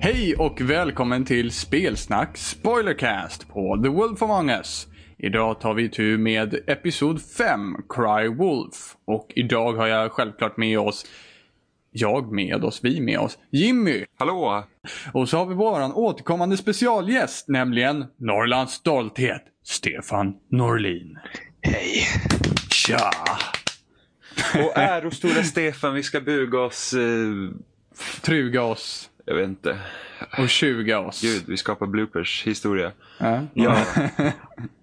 Hej och välkommen till Spelsnack Spoilercast på The Wolf Among Us. Idag tar vi tur med Episod 5, Cry Wolf. Och idag har jag självklart med oss, jag med oss, vi med oss, Jimmy. Hallå! Och så har vi våran återkommande specialgäst, nämligen Norrlands stolthet, Stefan Norlin. Hej! Tja! Och ärostora Stefan, vi ska buga oss... Eh, Truga oss jag vet inte. och tjuga oss. Gud, vi skapar bloopers. Historia. Ja.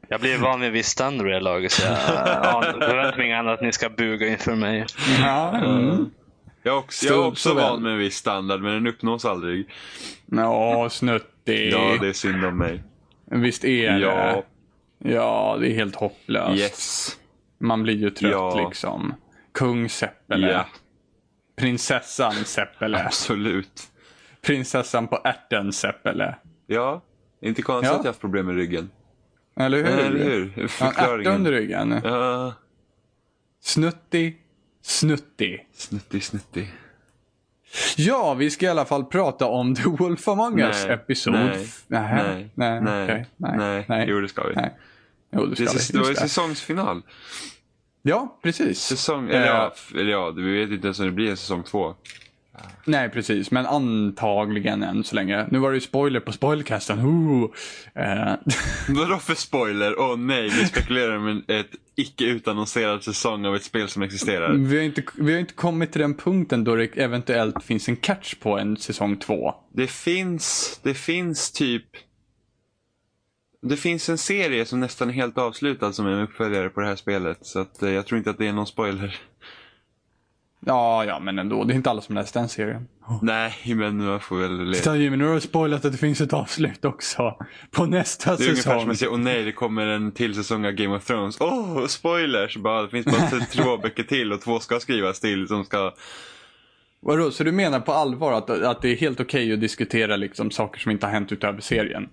Jag blir van vid vistan vid det här laget, så jag ja, förväntar mig inget annat att ni ska buga inför mig. Ja, mm. Jag är också, Stod jag är så också väl. van med en viss standard, men den uppnås aldrig. Nå, snuttig. Ja, det är synd om mig. Visst är det? Ja, Ja, det är helt hopplöst. yes. Man blir ju trött Ja. liksom. Kung Seppele. Ja, Prinsessan Seppele. absolut. Prinsessan på ärten Seppele. Ja, inte konstigt Ja. att jag haft problem med ryggen. Eh, Eller hur? Eller hur? Ja, en ärta under Förklaringen. ryggen. Ja, Snuttig, snuttig. snuttig, snuttig. Ja, vi ska i alla fall prata om The Wolf Among Us Nej, episod. nej, Nähä, nej, nej, nej, okej, nej, nej. Jo, det ska vi. Nej. Jo, det ska Det, vi. är, just det var ju det. säsongsfinal. Ja, precis. Säsong, eller, Eh, ja, f- eller ja, vi vet inte ens om det blir en säsong två. Nej, precis. Men antagligen än så länge. Nu var det ju spoiler på spoilcasten. Ooh. Eh, Vadå för spoiler? Åh nej, vi spekulerar om en ett icke utannonserad säsong av ett spel som existerar. vi, har inte, vi har inte kommit till den punkten då det eventuellt finns en catch på en säsong två. Det finns, det finns typ... Det finns en serie som nästan är helt avslutad som är en uppföljare på det här spelet. Så att, eh, jag tror inte att det är någon spoiler. Ja, ja, men ändå. Det är inte alla som läst den serien. Nej, men man får väl le. Titta Jimmy, nu har du spoilat att det finns ett avslut också. På nästa Det är ungefär som säsong. att säga, åh nej, det kommer en till säsong av Game of Thrones. Åh, spoilers! Bara, det finns bara två böcker till och två ska skrivas till som ska... Vadå, så du menar på allvar att, att det är helt okej att diskutera liksom, saker som inte har hänt utöver serien?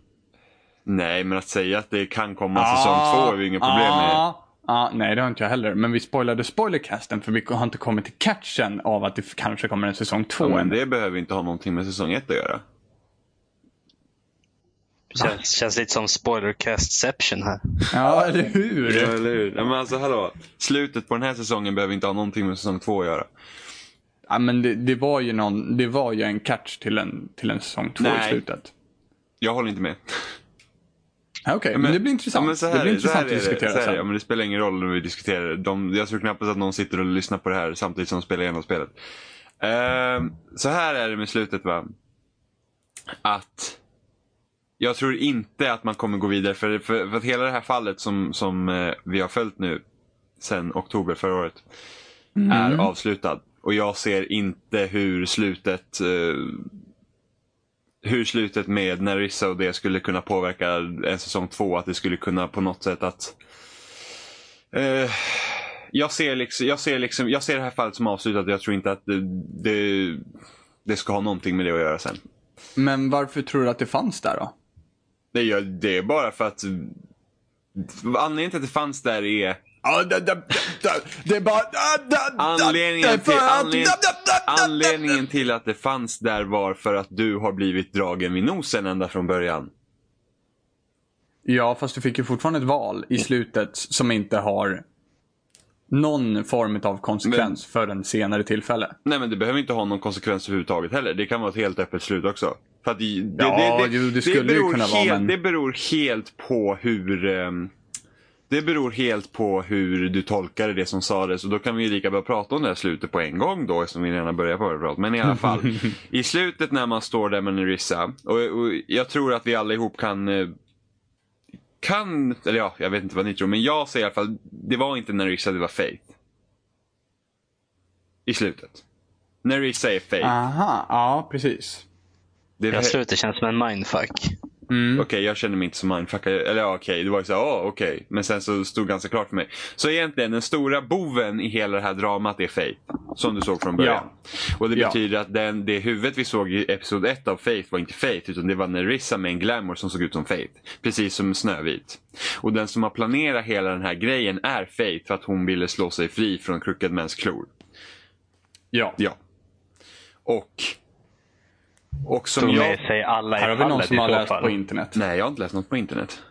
Nej, men att säga att det kan komma en säsong två är ju inget problem med. Ah, ah, nej, det har inte jag heller. Men vi spoilade spoilercasten för vi har inte kommit till catchen av att det f- kanske kommer en säsong två. Ja, men än. det behöver inte ha någonting med säsong ett att göra. Känns, känns lite som spoilercastception här. Ja, eller hur? eller hur? Ja, men alltså hallå. Slutet på den här säsongen behöver inte ha någonting med säsong två att göra. Ja, men det, det, var ju någon, det var ju en catch till en, till en säsong två i Nej. slutet. Jag håller inte med. Ja, Okej, men, det blir Ja, intressant. men så här, det blir är- så här intressant att är det, diskutera så här är det. Ja, sen. men det spelar ingen roll om vi diskuterar det. De, jag tror knappast att någon sitter och lyssnar på det här samtidigt som de spelar igenom spelet. Ehm, så här är det med slutet va. Att jag tror inte att man kommer gå vidare. För, för, för att hela det här fallet som, som eh, vi har följt nu sen oktober förra året är avslutad. Och jag ser inte hur slutet eh, hur slutet med Narissa och det skulle kunna påverka en säsong två. Att det skulle kunna på något sätt att... Eh, jag, ser liksom, jag, ser liksom, jag ser det här fallet som avslutat och jag tror inte att det, det, det ska ha någonting med det att göra sen. Men varför tror du att det fanns där då? Det, gör, det är bara för att... Anledningen till att det fanns där är... Ja, det, det, det, det är bara... Anledningen till, anledningen, anledningen till att det fanns där var för att du har blivit dragen vid nosen ända från början. Ja, fast du fick ju fortfarande ett val i slutet som inte har någon form av konsekvens för en senare tillfälle. Nej men det behöver inte ha någon konsekvens överhuvudtaget heller. Det kan vara ett helt öppet slut också. För att det, det, Ja, det, jo, det skulle ju beror kunna vara, helt, men- Det beror helt på hur... ehm, det beror helt på hur du tolkar det som sades. Och då kan vi ju lika bra prata om det här slutet på en gång då. Eftersom vi redan börjar på det prat. Men i alla fall. I slutet när man står där med Nerissa. Och, och jag tror att vi allihop kan... eh, Kan, eller ja, jag vet inte vad ni tror. Men jag säger i alla fall. Det var inte Nerissa, det var Faith. I slutet. Nerissa är Ah, Faith. Aha, ja precis. Det är Eh, Jag okej, slutet känns som en mindfuck. jag känner mig inte som mindfuckad. Eller ja, okej, det var ju såhär, ah, okej. Men sen så stod det ganska klart för mig. Så egentligen, den stora boven i hela det här dramat är Faith. Som du såg från början. Och det Ja. betyder att den, det huvudet vi såg i Episod 1 av Faith var inte Faith, utan det var Nerissa med en glamour som såg ut som Faith. Precis som Snövit. Och den som har planerat hela den här grejen är Faith för att hon ville slå sig fri från Crooked Mans klor. Ja. Ja. Och Och som Tog jag... med sig alla i Här har vi någon fallet i som har så läst på fall. internet. Nej, jag har inte läst något på internet.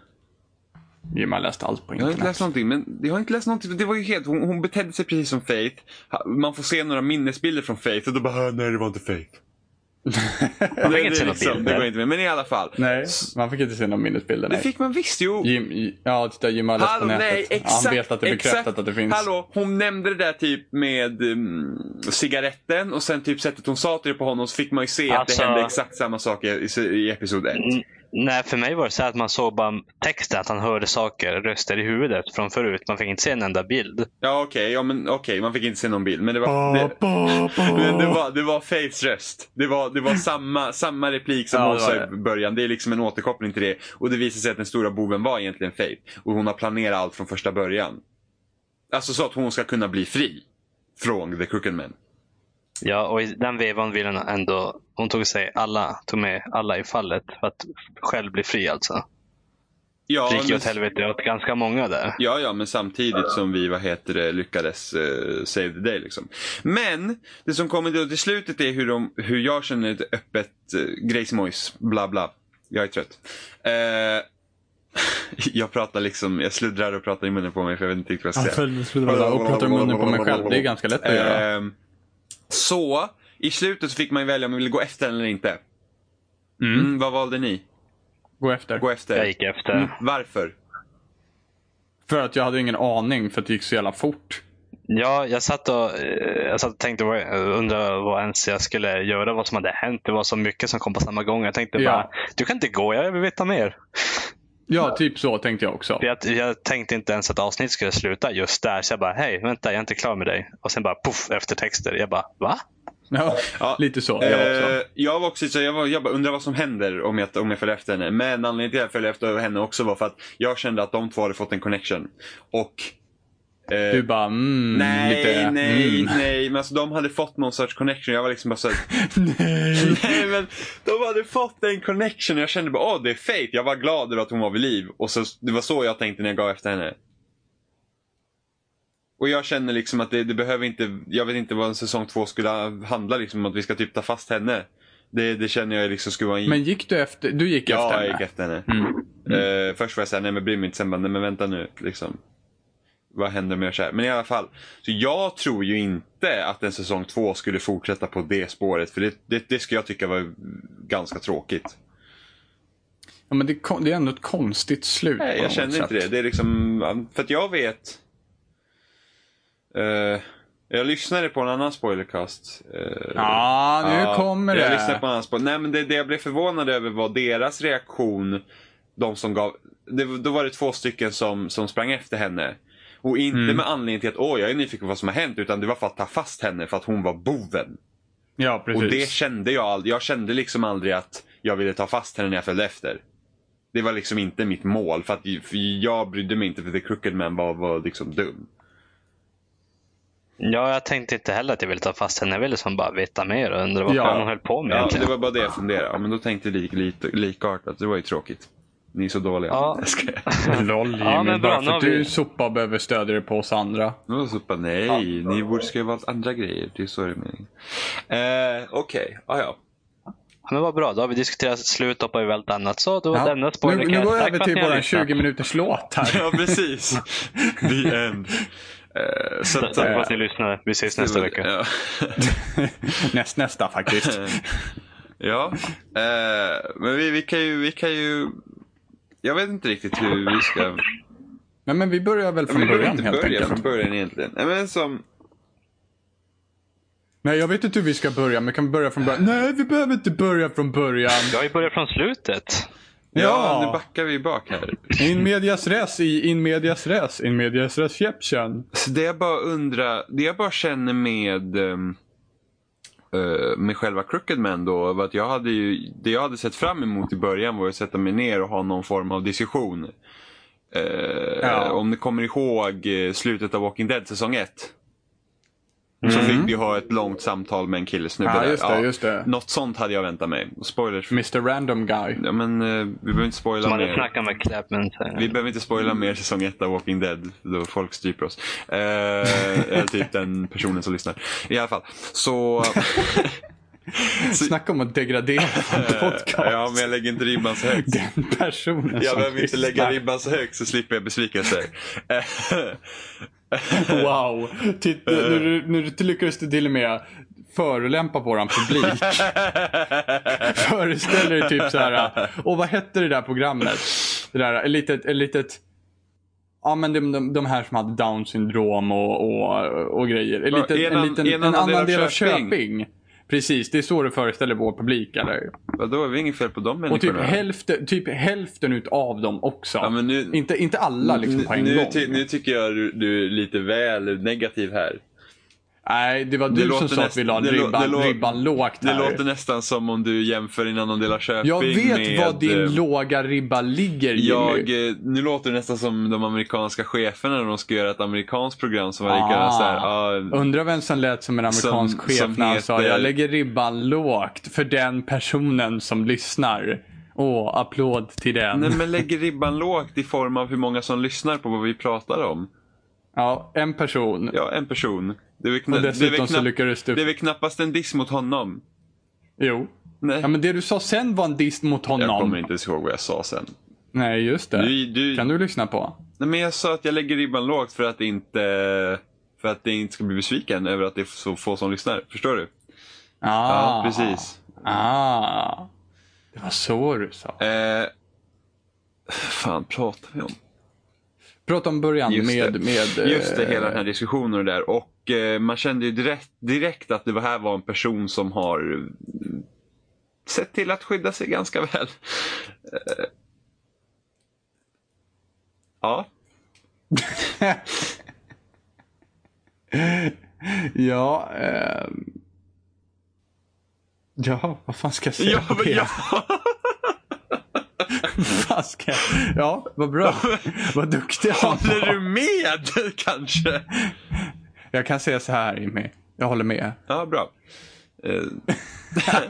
Jim har läst allt på Mm. Jag har inte läst internet. någonting. Men jag har inte läst någonting. Det var ju helt, hon, hon betedde sig precis som Faith. Ha- Man får se några minnesbilder från Faith och då bara, "Ah, nej det var inte Faith. Man Det, fick det, inte se är några liksom, det går bilder. inte med. Men i alla fall. Nej, man fick inte se några minnesbilder. Det Nej. fick man visst. Jo, Jim, ja, titta Jim har läst Hallå, på nätet. nej, exakt, Han vet att det är bekräftat exakt. att det finns. Hallå, hon nämnde det där typ med mm, cigaretten och sen typ sättet hon sa till det på honom så fick man ju se att Alltså- det hände exakt samma sak i, i, i episod 1. Mm, Nej, för mig var det så här att man såg bara texten, att han hörde saker, röster i huvudet från förut. Man fick inte se en enda bild. Ja okej, ja, men okej, man fick inte se någon bild. Men det Ah, var, det, men det var, det var Faiths röst. Det var, det var samma, samma replik som Ja, hon det sa var det. i början. Det är liksom en återkoppling till det. Och det visar sig att den stora boven var egentligen Faith. Och hon har planerat allt från första början. Alltså så att hon ska kunna bli fri. Från The Crooked Man. Ja, och i den vevan ville hon ändå... Hon tog sig alla, tog med alla i fallet för att själv bli fri alltså. Ja, Det gick ju men- åt helvete åt ganska många där. Ja, ja, men samtidigt som vi, vad heter det, lyckades eh, save the day liksom. Men, det som kommer då till slutet är hur, de, hur jag känner ett öppet eh, Grace Moyes, bla bla. Jag är trött. Eh, jag pratar liksom, jag sluddrar och pratar i munnen på mig för jag vet inte riktigt vad jag ska säga. Och pratar i munnen på mig själv. Det är ganska lätt att göra. Ehm, så, i slutet så fick man ju välja om man ville gå efter eller inte. Mm. Mm, vad valde ni? Gå efter. Gå efter. Mm, Jag gick efter. Mm. Varför? För att jag hade ingen aning för att det gick så jävla fort. Ja, jag satt och, eh, jag satt och tänkte vad, undra vad ens jag skulle göra, vad som hade hänt. Det var så mycket som kom på samma gång. Jag tänkte Ja. bara, du kan inte gå, jag vill veta mer. Ja, typ så tänkte jag också. För Jag, jag tänkte inte ens att avsnittet skulle sluta just där. Så jag bara, hej, vänta, jag är inte klar med dig. Och sen bara poff, eftertexter. Jag bara, va? Ja, Ja. lite så. Eh, Jag också. jag var också så jag, var, jag bara undrar vad som händer om jag, om jag följer efter henne. Men anledningen till att jag följde efter henne också var för att jag kände att de två hade fått en connection. Och... eh, Du bara mm, nej, lite. nej, mm. nej. Men alltså de hade fått någon sorts connection. Jag var liksom bara såhär, nej. nej men de hade fått en connection. Jag kände bara, åh det är fate. Jag var glad över att hon var vid liv. Och så, det var så jag tänkte när jag gav efter henne. Och jag känner liksom att det, det behöver inte, jag vet inte vad en säsong två skulle handla liksom om att vi ska typ ta fast henne. Det, det känner jag liksom skulle vara en... Men gick du efter? Du gick ja, efter jag henne? gick efter henne. Mm. Eh, först var jag såhär, nej men bryr mig inte. Sen bara, nej men vänta nu liksom. Vad händer om jag gör såhär? Men i alla fall. Så jag tror ju inte att en säsong två skulle fortsätta på det spåret. För det, det, det skulle jag tycka var ganska tråkigt. Ja, men det, är kon- det är ändå ett konstigt slut. på Nej, jag något känner sätt. inte det. Det är liksom, för att jag vet. eh, jag lyssnade på en annan spoilercast. eh, Ja, nu Ja, kommer det. Jag lyssnade på hans på. Nej, men det, det jag blev förvånad över var deras reaktion. De som gav, det, då var det två stycken som, som sprang efter henne. Och inte Mm. med anledning till att åh, jag är nyfiken på vad som har hänt. Utan det var för att ta fast henne för att hon var boven. Ja, precis. Och det kände jag aldrig. Jag kände liksom aldrig att jag ville ta fast henne när jag följde efter. Det var liksom inte mitt mål. För, att, för jag brydde mig inte för The Crooked Man var, var liksom dum. Ja, jag tänkte inte heller att jag ville ta fast henne. Jag ville som bara veta mer och undra vad Ja. fan hon höll på med Ja, egentligen. det var bara det jag funderade. Ja, men då tänkte vi lik, lik, likartat. Det var ju tråkigt. Ni är så dåliga. Ja. Jag skojar. Loll Jimmy, Ja, men bra, bara nu för har att du vi- soppa behöver stödja dig på oss andra. Nu var det så bara, nej, ni borde ska ju valt andra grejer. Det är så det är meningen. Eh, Okej, ah, ja. Ja, Men vad bra, då har vi diskuterat slut och på allt annat. Så då var Ja. denna Nu, spoilercast. nu går Tack jag för över att till ni har våran lyssnat. 20 minuters låt här. Ja, precis. The end. Eh, så Tack att, för att ni lyssnade. Vi ses nästa vecka. Ja. Näst, nästa faktiskt. ja. Eh, men vi, vi kan ju, vi kan ju... Jag vet inte riktigt hur vi ska... Nej, men vi börjar väl från vi behöver början inte helt börja enkelt. från början egentligen. Nej, men som... Nej, jag vet inte hur vi ska börja, men kan vi börja från början? Nej, vi behöver inte börja från början. Jag har ju börjat från slutet. Ja, Ja. nu backar vi bak här. In medias res i in medias res, in medias res Jeppchen. Så det jag bara undrar, det jag bara känner med ehm, eh, med själva Crooked Man då, var att jag hade ju, det jag hade sett fram emot i början var att sätta mig ner och ha någon form av diskussion. Eh, Ja. Om ni kommer ihåg eh, slutet av Walking Dead säsong 1. Så fick vi ha ett långt samtal med en killesnubbe Mm. Ja, där. just det, just det. Något sånt hade jag väntat mig. Spoilers. för- Mr Random Guy. Ja, men, eh, vi behöver inte spoila Man hade mer. snackat med Clapman. Vi behöver inte spoila mer säsong 1 av Walking Dead, då folk stryper oss. Eh, eh, typ den personen som lyssnar. I alla fall. Så... Snacka om att degradera en podcast. eh, Ja, men jag lägger inte ribban så högt. Den personen Jag som behöver inte lägga lyssnar. ribban så högt så slipper jag besvikelser. Wow. Titta, när, du, när du lyckades du till och med förolämpa våran publik. Föreställer dig typ så här. Och vad hette det där programmet? Det där, ett litet, ett litet Ja men de, de, de här som hade down syndrom och, och, och grejer. En, Ja, liten, en en, an- liten, en en annan annan del av Köping. Precis, det är så du föreställer vår publik eller? Vadå, det är inget fel på de Och typ människorna. hälften, typ hälften utav dem också. Ja, men nu- inte, inte alla liksom på en nu, gång. ty, nu tycker jag du, du är lite väl negativ här. Nej, det var Det du låter som sa att nästan- vi la det lå- det ribban, lå- ribban lågt Det här. låter nästan som om du jämför en annan del av Köping jag vet med... var din eh, låga ribba ligger jag, Jimmy. eh, nu låter det nästan som de amerikanska cheferna när de ska göra ett amerikanskt program som var Ah. likadant såhär. ah, Undrar vem som lät som en amerikansk Som- chef som när han sa heter- jag lägger ribban lågt för den personen som lyssnar. Åh, applåd till den. Nej men lägger ribban lågt i form av hur många som lyssnar på vad vi pratar om. Ja, en person. Ja, en person. Det är väl, kna- Och det är dessutom väl, så knapp- lyckades det är du... väl knappast en diss mot honom. Jo. Nej. Ja, men det du sa sen var en diss mot jag kommer honom. inte ens ihåg vad jag sa sen. Nej, just det. Du, du, Kan du lyssna på? Nej, men jag sa att jag lägger ribban lågt för att inte för att det inte ska bli besviken över att det är så få som lyssnar. Förstår du? Ah. Ja, precis. Ah. Det var så du sa. Eh, fan pratar vi om? Prata om början Just med... det. med eh, Just det, hela den här diskussionen och det där. Och eh, man kände ju direkt, direkt att det här var en person som har mm, sett till att skydda sig ganska väl. Eh, Ja, Ja, ehm. ja, vad fan ska jag säga? ja, om men det? ja. Vad fan ska jag... ja vad bra. vad duktig han Håller var. du med kanske? Jag kan säga så här Jimmy. Jag håller med. Ja, bra. Eh,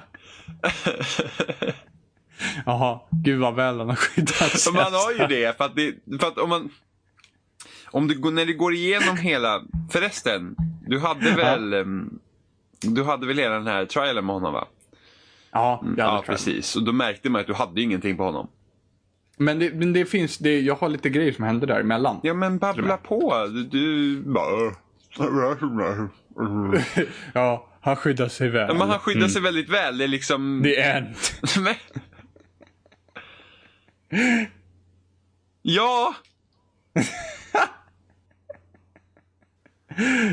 Jaha, gud vad väl han har skyddat sig. man har ju det, för att, det, för att om man... Om du, går- när du går igenom hela... Förresten, du hade väl... ehm, Du hade väl hela den här trialen med honom va? Ja, jag Mm, Ja, hade trans. precis. Och då märkte man att du hade ju ingenting på honom. Men det, men det finns, det, jag har lite grejer som hände däremellan. Ja, men babbla på. Du, du bara... Ja, han skyddar sig väl. Ja, Men han skyddar sig väldigt väl. Mm. Det är liksom... The end. Men- ja!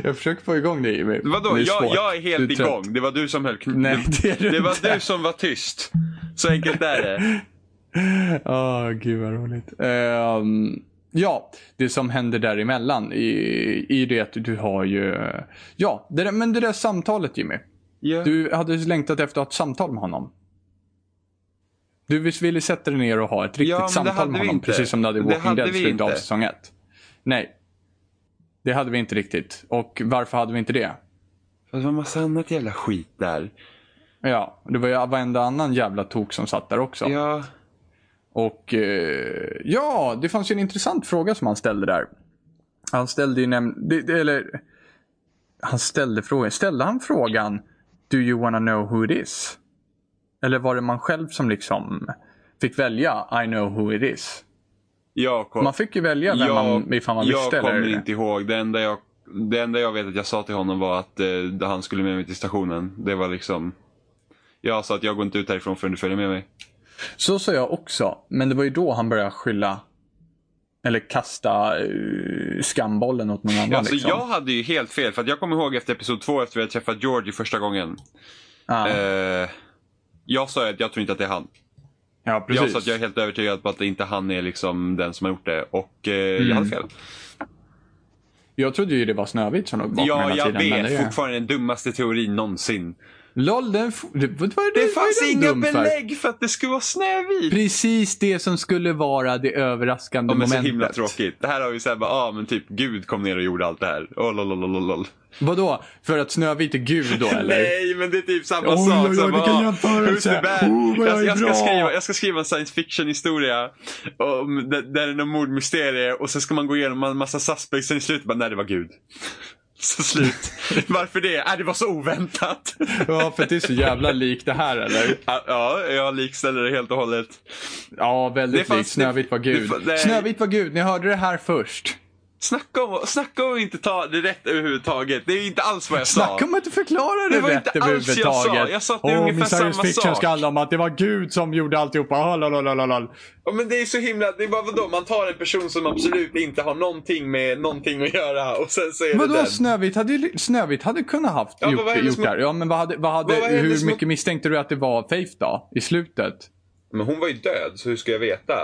Jag försöker få igång det Jimmy. Vadå? Det är jag, svårt. jag är helt Du trött. igång. Det var du som höll kn- Nej, det är du det, det var inte. du som var tyst. Så enkelt är det. Åh, gud vad roligt. Ehm, ja, det som händer däremellan i, i det att du har ju... Ja, det där, men det där samtalet Jimmy. Ja. Du hade längtat efter att ha ett samtal med honom. Du visst ville sätta dig ner och ha ett riktigt Ja, men det hade samtal med vi honom. inte. Precis som du hade i Det Walking hade Dead vi slutet av inte. säsong 1. Nej. Det hade vi inte riktigt. Och varför hade vi inte det? För det var massa annat jävla skit där. Ja, det var ju varenda annan jävla tok som satt där också. Ja. Och eh, ja, det fanns ju en intressant fråga som han ställde där. Han ställde ju nämligen, det- det- eller han ställde frågan, ställde han frågan Do you wanna know who it is? Eller var det man själv som liksom fick välja I know who it is? Jag kom, Man fick ju välja vem man, ifall man jag visste kommer eller? inte ihåg. Det enda, jag, det enda jag vet att jag sa till honom var att eh, han skulle med mig till stationen. Det var liksom... Jag sa att jag går inte ut härifrån förrän du följer med mig. Så sa jag också, men det var ju då han började skylla eller kasta eh, skambollen åt någon annan. Ja, alltså, liksom. Jag hade ju helt fel. För att jag kommer ihåg efter episod två, efter vi hade träffat Georgie första gången. ah, Eh, jag sa ju att jag tror inte att det är han. ja, precis. Jag sa att jag är helt övertygad på att inte han är liksom den som har gjort det. Och eh, jag Mm. hade fel. Jag trodde ju det var Snövit som låg bakom Ja, hela jag tiden. men vet. det är- Fortfarande den dummaste teorin någonsin. LOL, den, f- det, vad var det, Det vad fanns är den inga dum för? belägg för att det skulle vara Snövit. Precis det som skulle vara det överraskande De är så momentet. himla tråkigt. Det här har vi såhär bara, ah, men typ Gud kom ner och gjorde allt det här. Oh, lol, lol, lol, lol. Vadå? För att Snövit är gud då eller? Nej, men det är typ samma Oj, sak. oj, oj, som, vilken ah, jämförelse. who's the bad? Oh, vad jag jag, är jag, ska bra. skriva, jag ska skriva en science fiction historia. Om, där, där det är någon mordmysterie och sen ska man gå igenom en massa suspects. Sen i slutet bara, nej det var Gud. Så slut. Varför det? Äh, det var så oväntat. Ja, för det är så jävla likt det här eller? ja, jag likställer det helt och hållet. Ja, Det väldigt fanns- likt Snövit var det gud. fa- nej. Snövit var gud, ni hörde det här först. Snacka om, snacka om att inte ta det rätt överhuvudtaget. Det är ju inte alls vad jag sa. Snacka om att du förklarade Det var rätt inte alls jag överhuvudtaget. sa. Jag sa att det är Åh, ungefär min science samma fiction sak. ska handla om att det var Gud som gjorde alltihopa. Ah, lalalala. Ja, men det är så himla, det är bara vadå? Man tar en person som absolut inte har någonting med någonting att göra och sen så är det Vadå den. Snövit hade, ju- Snövit hade kunnat haft men gjort, vad är det gjort som- det här. Ja, men vad hade, vad hade, Men vad är det hur som- mycket misstänkte du att det var Faith då? I slutet? Men hon var ju död, så hur ska jag veta?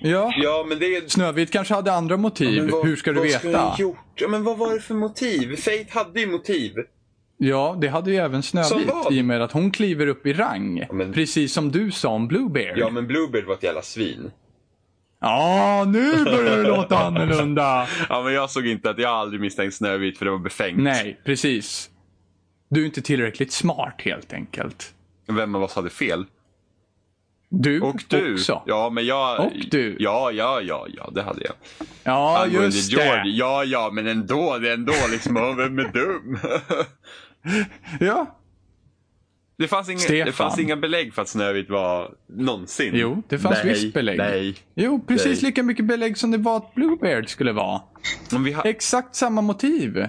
Ja. Ja, men det är... Snövit kanske hade andra motiv. Men vad- hur ska du vad veta? Ska jag ha gjort? Ja, men vad var det för motiv? Fate hade ju motiv. Ja, det hade ju även Som Snövit vad? i och med att hon kliver upp i rang. men- Precis som du sa om Bluebeard. Ja, Ja, men Bluebeard var ett jävla svin. nu börjar det låta annorlunda. Ja, men jag såg inte att jag aldrig misstänkt Snövit för det var befängt. Nej, precis. Du är inte tillräckligt smart helt enkelt. Vem av oss hade fel? Du Och du. också. Ja, men jag... Och du. Ja, ja, ja, ja, det hade jag. Ja, Angående just George. det. Ja, ja, men ändå. Det är ändå liksom, ja, vem är dum? Ja. Det fanns, inga, Stefan. det fanns inga belägg för att Snövit var någonsin. Jo, det fanns nej, visst belägg. Nej. Jo, precis Nej. lika mycket belägg som det var att Bluebeard skulle vara. Men vi ha... Exakt samma motiv.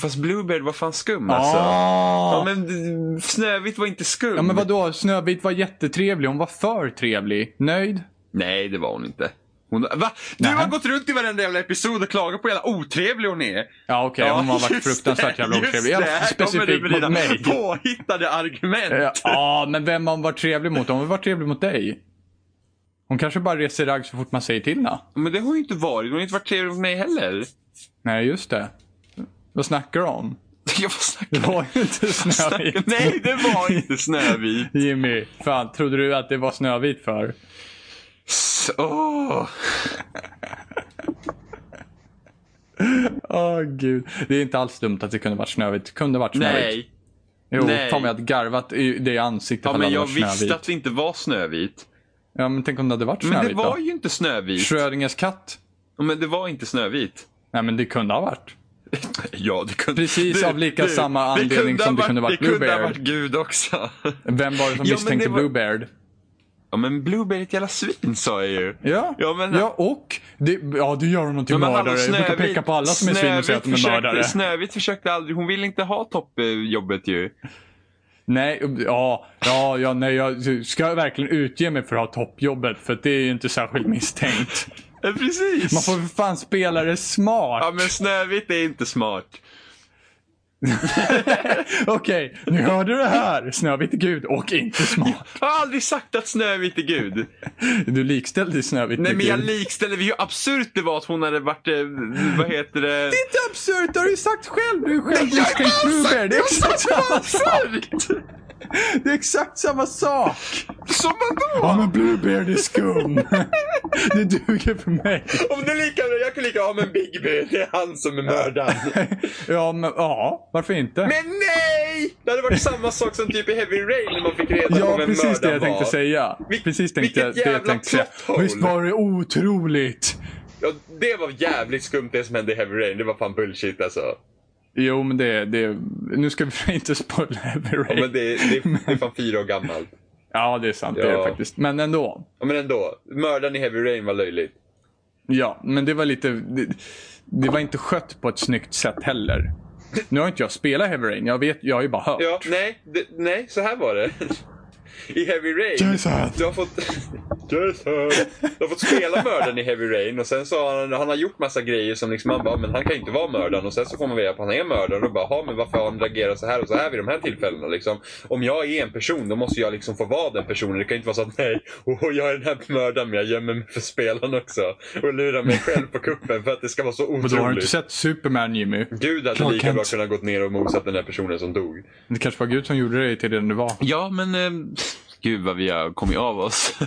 Fast Bluebeard var fan skum alltså. Ja, Ah. men d- Snövit var inte skum. Ja, men vadå? Snövit var jättetrevlig. Hon var för trevlig. Nöjd? Nej, det var hon inte. Hon... Va? Du Nej. har gått runt i varenda jävla episod och klagat på hur jävla otrevlig hon är. Ja okej, hon har varit just fruktansvärt det, jävla just otrevlig. I alla det. fall Här kommer du Specifikt med mot dina mig. påhittade argument. Ja, Ja, men vem har hon varit trevlig mot? Hon har väl varit trevlig mot dig? Hon kanske bara reser ragg så fort man säger till henne. Men det har hon ju inte varit. Hon har inte varit trevlig mot mig heller. Nej, just det. Vad snackar du om? Jag får snacka. Det var ju inte Snövit. Nej, det var inte Snövit. Jimmy, fan, trodde du att det var Snövit för? Åh. Åh gud. Det är inte alls dumt att det kunde varit Snövit. Det kunde varit Snövit. Nej. Jo, nej. fan vad jag hade garvat i det i ansiktet Ja, ifall men det jag hade varit visste Snövit. att det inte var Snövit. Ja, men tänk om det hade varit Men det Snövit var då? ju inte Snövit. Schrödingers katt? Ja, Men det var inte Snövit. Nej, men det kunde ha varit. Ja, det kunde... Precis av lika samma anledning kunde som ha det kunde varit Det kunde ha Bluebeard. varit Gud också. Vem var det som Ja, men misstänkte det var- Bluebeard? Ja, men Blueberry är ett jävla svin sa jag ju. Ja, Ja, ja, men- och det, ja, du gör honom till Men hallå, mördare. Jag brukar Snövit- peka på alla som är svin och säga att de Snövit är försökte- mördare. Snövit försökte aldrig, hon ville inte ha toppjobbet ju. Nej, ja, ja, ja, nej, jag ska verkligen utge mig för att ha toppjobbet för att det är ju inte särskilt misstänkt. Ja, precis. Man får för fan spela det smart. Ja men Snövit är inte smart. Okej, nu hörde du det här. Snövit är gud och inte smart. Jag har aldrig sagt att Snövit är Gud. Du likställde Snövit Nej med men jag gud. likställer hur absurt det var att hon hade varit, eh, vad heter det? Det är inte absurt, det har du ju sagt själv. Du är själv misstänkt Bluebeard. Det är exakt samma sak. Det är exakt samma sak. Som Ja vadå? men Bluebeard är skum. det duger för mig. Om det är lika bra, jag kan lika ja men Big B, det är han som är mördaren. Ja, men ja, varför inte? Men nej! Det hade varit samma sak som typ i Heavy Rain när man fick reda på ja, vem precis det mördaren jag tänkte var. säga. Vil- precis tänkte vilket jag, det jag jävla tänkte säga. plot hole. Visst var det otroligt? Ja, det var jävligt skumt det som hände i Heavy Rain. Det var fan bullshit alltså. Jo, men det, det nu ska vi inte spoila Heavy Rain. Ja, men det, det, det är fan fyra år gammalt. är sant, det är Ja. det faktiskt. Men ändå. Ja, men ändå. Mördaren i Heavy Rain var löjligt. Ja, men det var lite... Det, det var inte skött på ett snyggt sätt heller. Nu har inte jag spelat Heavy Rain, jag, vet, jag har ju bara hört. Ja, nej, det, nej, så här var det. I Heavy Rain. Jason! Du har fått... Jason! Du har fått spela mördaren i Heavy Rain och sen så har han, han har gjort massa grejer som liksom man bara, men han kan inte vara mördaren. Och sen så kommer vi reda på att han är mördaren och bara, "Jaha, men varför har han reagerat så här och så här vid de här tillfällena liksom? Om jag är en person, då måste jag liksom få vara den personen. Det kan inte vara så att, nej, oh, jag är den här mördaren men jag gömmer mig för spelaren också. Och lurar mig själv på kuppen för att det ska vara så Och då har du inte otroligt. sett Superman Jimmy? Gud hade Clark lika bra Kent. kunnat gått ner och mosat den här personen som dog. Det kanske var Gud som gjorde dig till den du var. Ja, men eh, gud vad vi har kommit av oss.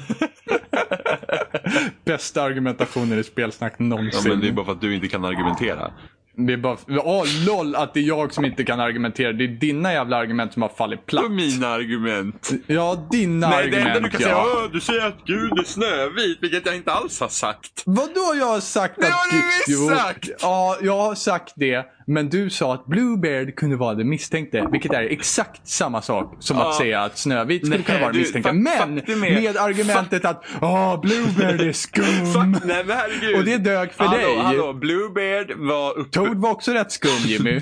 Bästa argumentationen i spelsnack någonsin. bara för att du inte kan argumentera. Det är bara... Åh, LOL att det är jag som inte kan argumentera. Det är dina jävla argument som har fallit platt. Och mina argument. Ja, dina Nej, det enda du argument kan säga ja. är du säger att Gud är snövit, vilket jag inte alls har sagt. Vadå jag har sagt Det att... har du visst Jo, sagt! Ja, jag har sagt det. Men du sa att Bluebeard kunde vara den misstänkte. Vilket är exakt samma sak som Ja. att säga att Snövit skulle Nej, kunna vara den du, misstänkte. fa- Men faktum är- med argumentet att åh, Bluebeard är skum. Fuck, nej men herregud. Mm. Och det dög för hallå, dig. Hallå, Bluebeard var uppe. Toad var också rätt skum Jimmy.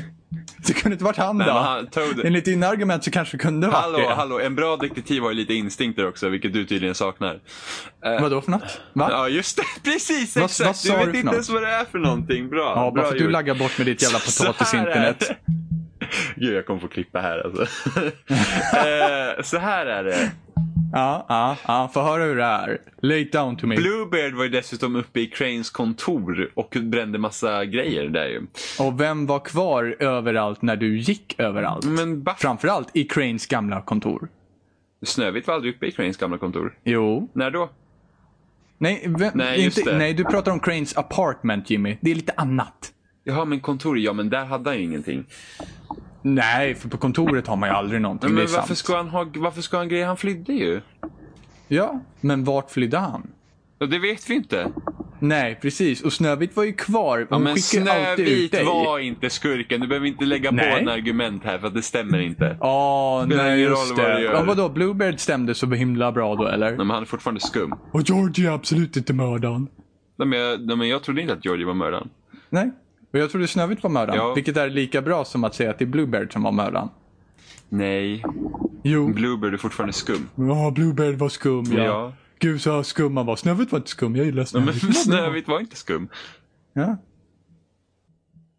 Det kunde inte varit han Nej, då. men han- Toad- Enligt dina argument så kanske det kunde varit Hallå, det. hallå, en bra detektiv har ju lite instinkter också, vilket du tydligen saknar. Vadå för något? Va? Ja, just det. Precis, Vad- vad exakt. sa du du vet för inte något? ens vad det är för någonting. Bra. Ja, bra bara för att du gjort. laggar bort med ditt jävla Så här potatisinternet. är det. Gud, jag kommer få klippa här alltså. Eh, så här är det. Ja, ja, ja. Få höra hur det är. Lay it down to me. Bluebeard var ju dessutom uppe i Cranes kontor och brände massa grejer där ju. Och vem var kvar överallt när du gick överallt? Men Buff... Framförallt i Cranes gamla kontor. Snövit var aldrig uppe i Cranes gamla kontor. Jo. När då? Nej, vem, Nej, just inte, det. nej, du pratar om Cranes apartment Jimmy. Det är lite annat. Jaha, men kontor, ja men där hade han ju ingenting. Nej, för på kontoret har man ju aldrig någonting. Men det är varför sant. ska, han ha, varför ska han grejer? Han flydde ju. Ja, men vart flydde han? Ja, det vet vi inte. Nej, precis. Och Snövit var ju kvar. Ja, Hon men skickar ju alltid ut Snövit dig. var inte skurken. Du behöver inte lägga Nej. på en argument här för att det stämmer inte. Ja, Spelar nej ingen just roll vad det. du gör. Ja, vadå? Bluebeard stämde så himla bra då, eller? Nej, men han är fortfarande skum. Och Georgie är absolut inte mördaren. Nej, men jag, nej, men jag trodde inte att Georgie var mördaren. Nej. Och jag trodde Snövit var mördaren. Ja. Vilket är lika bra som att säga att det är Bluebeard som var mördaren. Nej, Jo. Bluebird är fortfarande skum. Ja, Bluebeard var skum ja. Ja. Gud så skum han var. Snövit var inte skum. Jag gillar Men Snövit. Snövit var inte skum. Ja.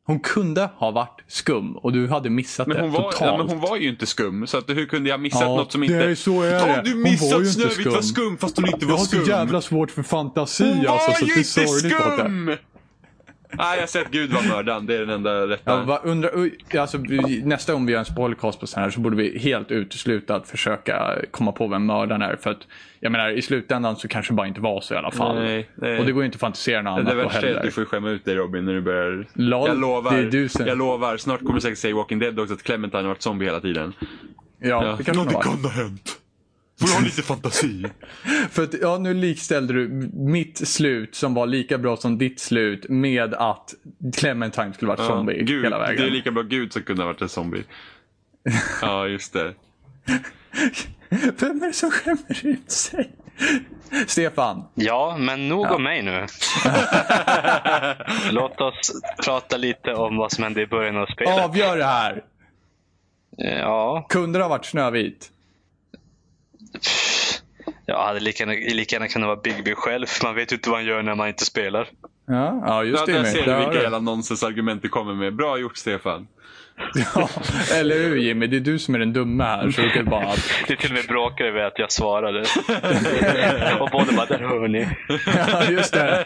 Hon kunde ha varit skum och du hade missat Men det hon, var, totalt. nej, men hon var ju inte skum, så att, hur kunde jag missat Ja, något som det inte... är- så är Ja, det. Du Hon var ju missade inte att Snövit skum. var skum fast hon inte jag var har så skum. jävla svårt för fantasi Hon alltså. var så ju det är inte sorgligt att det- skum! Nej, jag har sett Gud var mördaren. Det är den enda rätta. Jag bara undrar, oj, alltså, vi- nästa gång vi gör en spoilercast på sån här så borde vi helt utesluta att försöka komma på vem mördaren är. För att, jag menar, i slutändan så kanske det bara inte var så i alla fall. Nej, nej. Och det går ju inte att fantisera något Eh, Det annat då värsta är heller. att du får skämma ut dig Robin när du börjar. Lol, jag lovar. det är du som- Jag lovar. Snart kommer du säkert säga i Walking Dead också att Clementine har varit zombie hela tiden. Ja, det kan det vara. ha hänt. Får du ha lite fantasi? För att, ja, nu likställde du mitt slut som var lika bra som ditt slut med att Clementine skulle varit zombie Gud, hela vägen. Det är lika bra Gud som kunde ha varit en zombie. Ja, just det. Vem är det som skämmer ut sig? Stefan, Ja, men nog om mig nu. Låt oss prata lite om vad som hände i början av spelet. avgör det här. Ja, Kunde det ha varit Snövit? jag hade lika gärna, lika gärna kunnat vara Bigby själv. för Man vet ju inte vad han gör när man inte spelar. Ja, ja just Ja, det. där Jimmy. ser Där du har vilka du. jävla nonsensargument du kommer med. Bra gjort Stefan. Ja, eller hur Jimmy? Det är du som är den dumma här. Så du kan bara... Det till och med bråkar över att jag svarade. och båda bara, där hör ni. Ja, just det.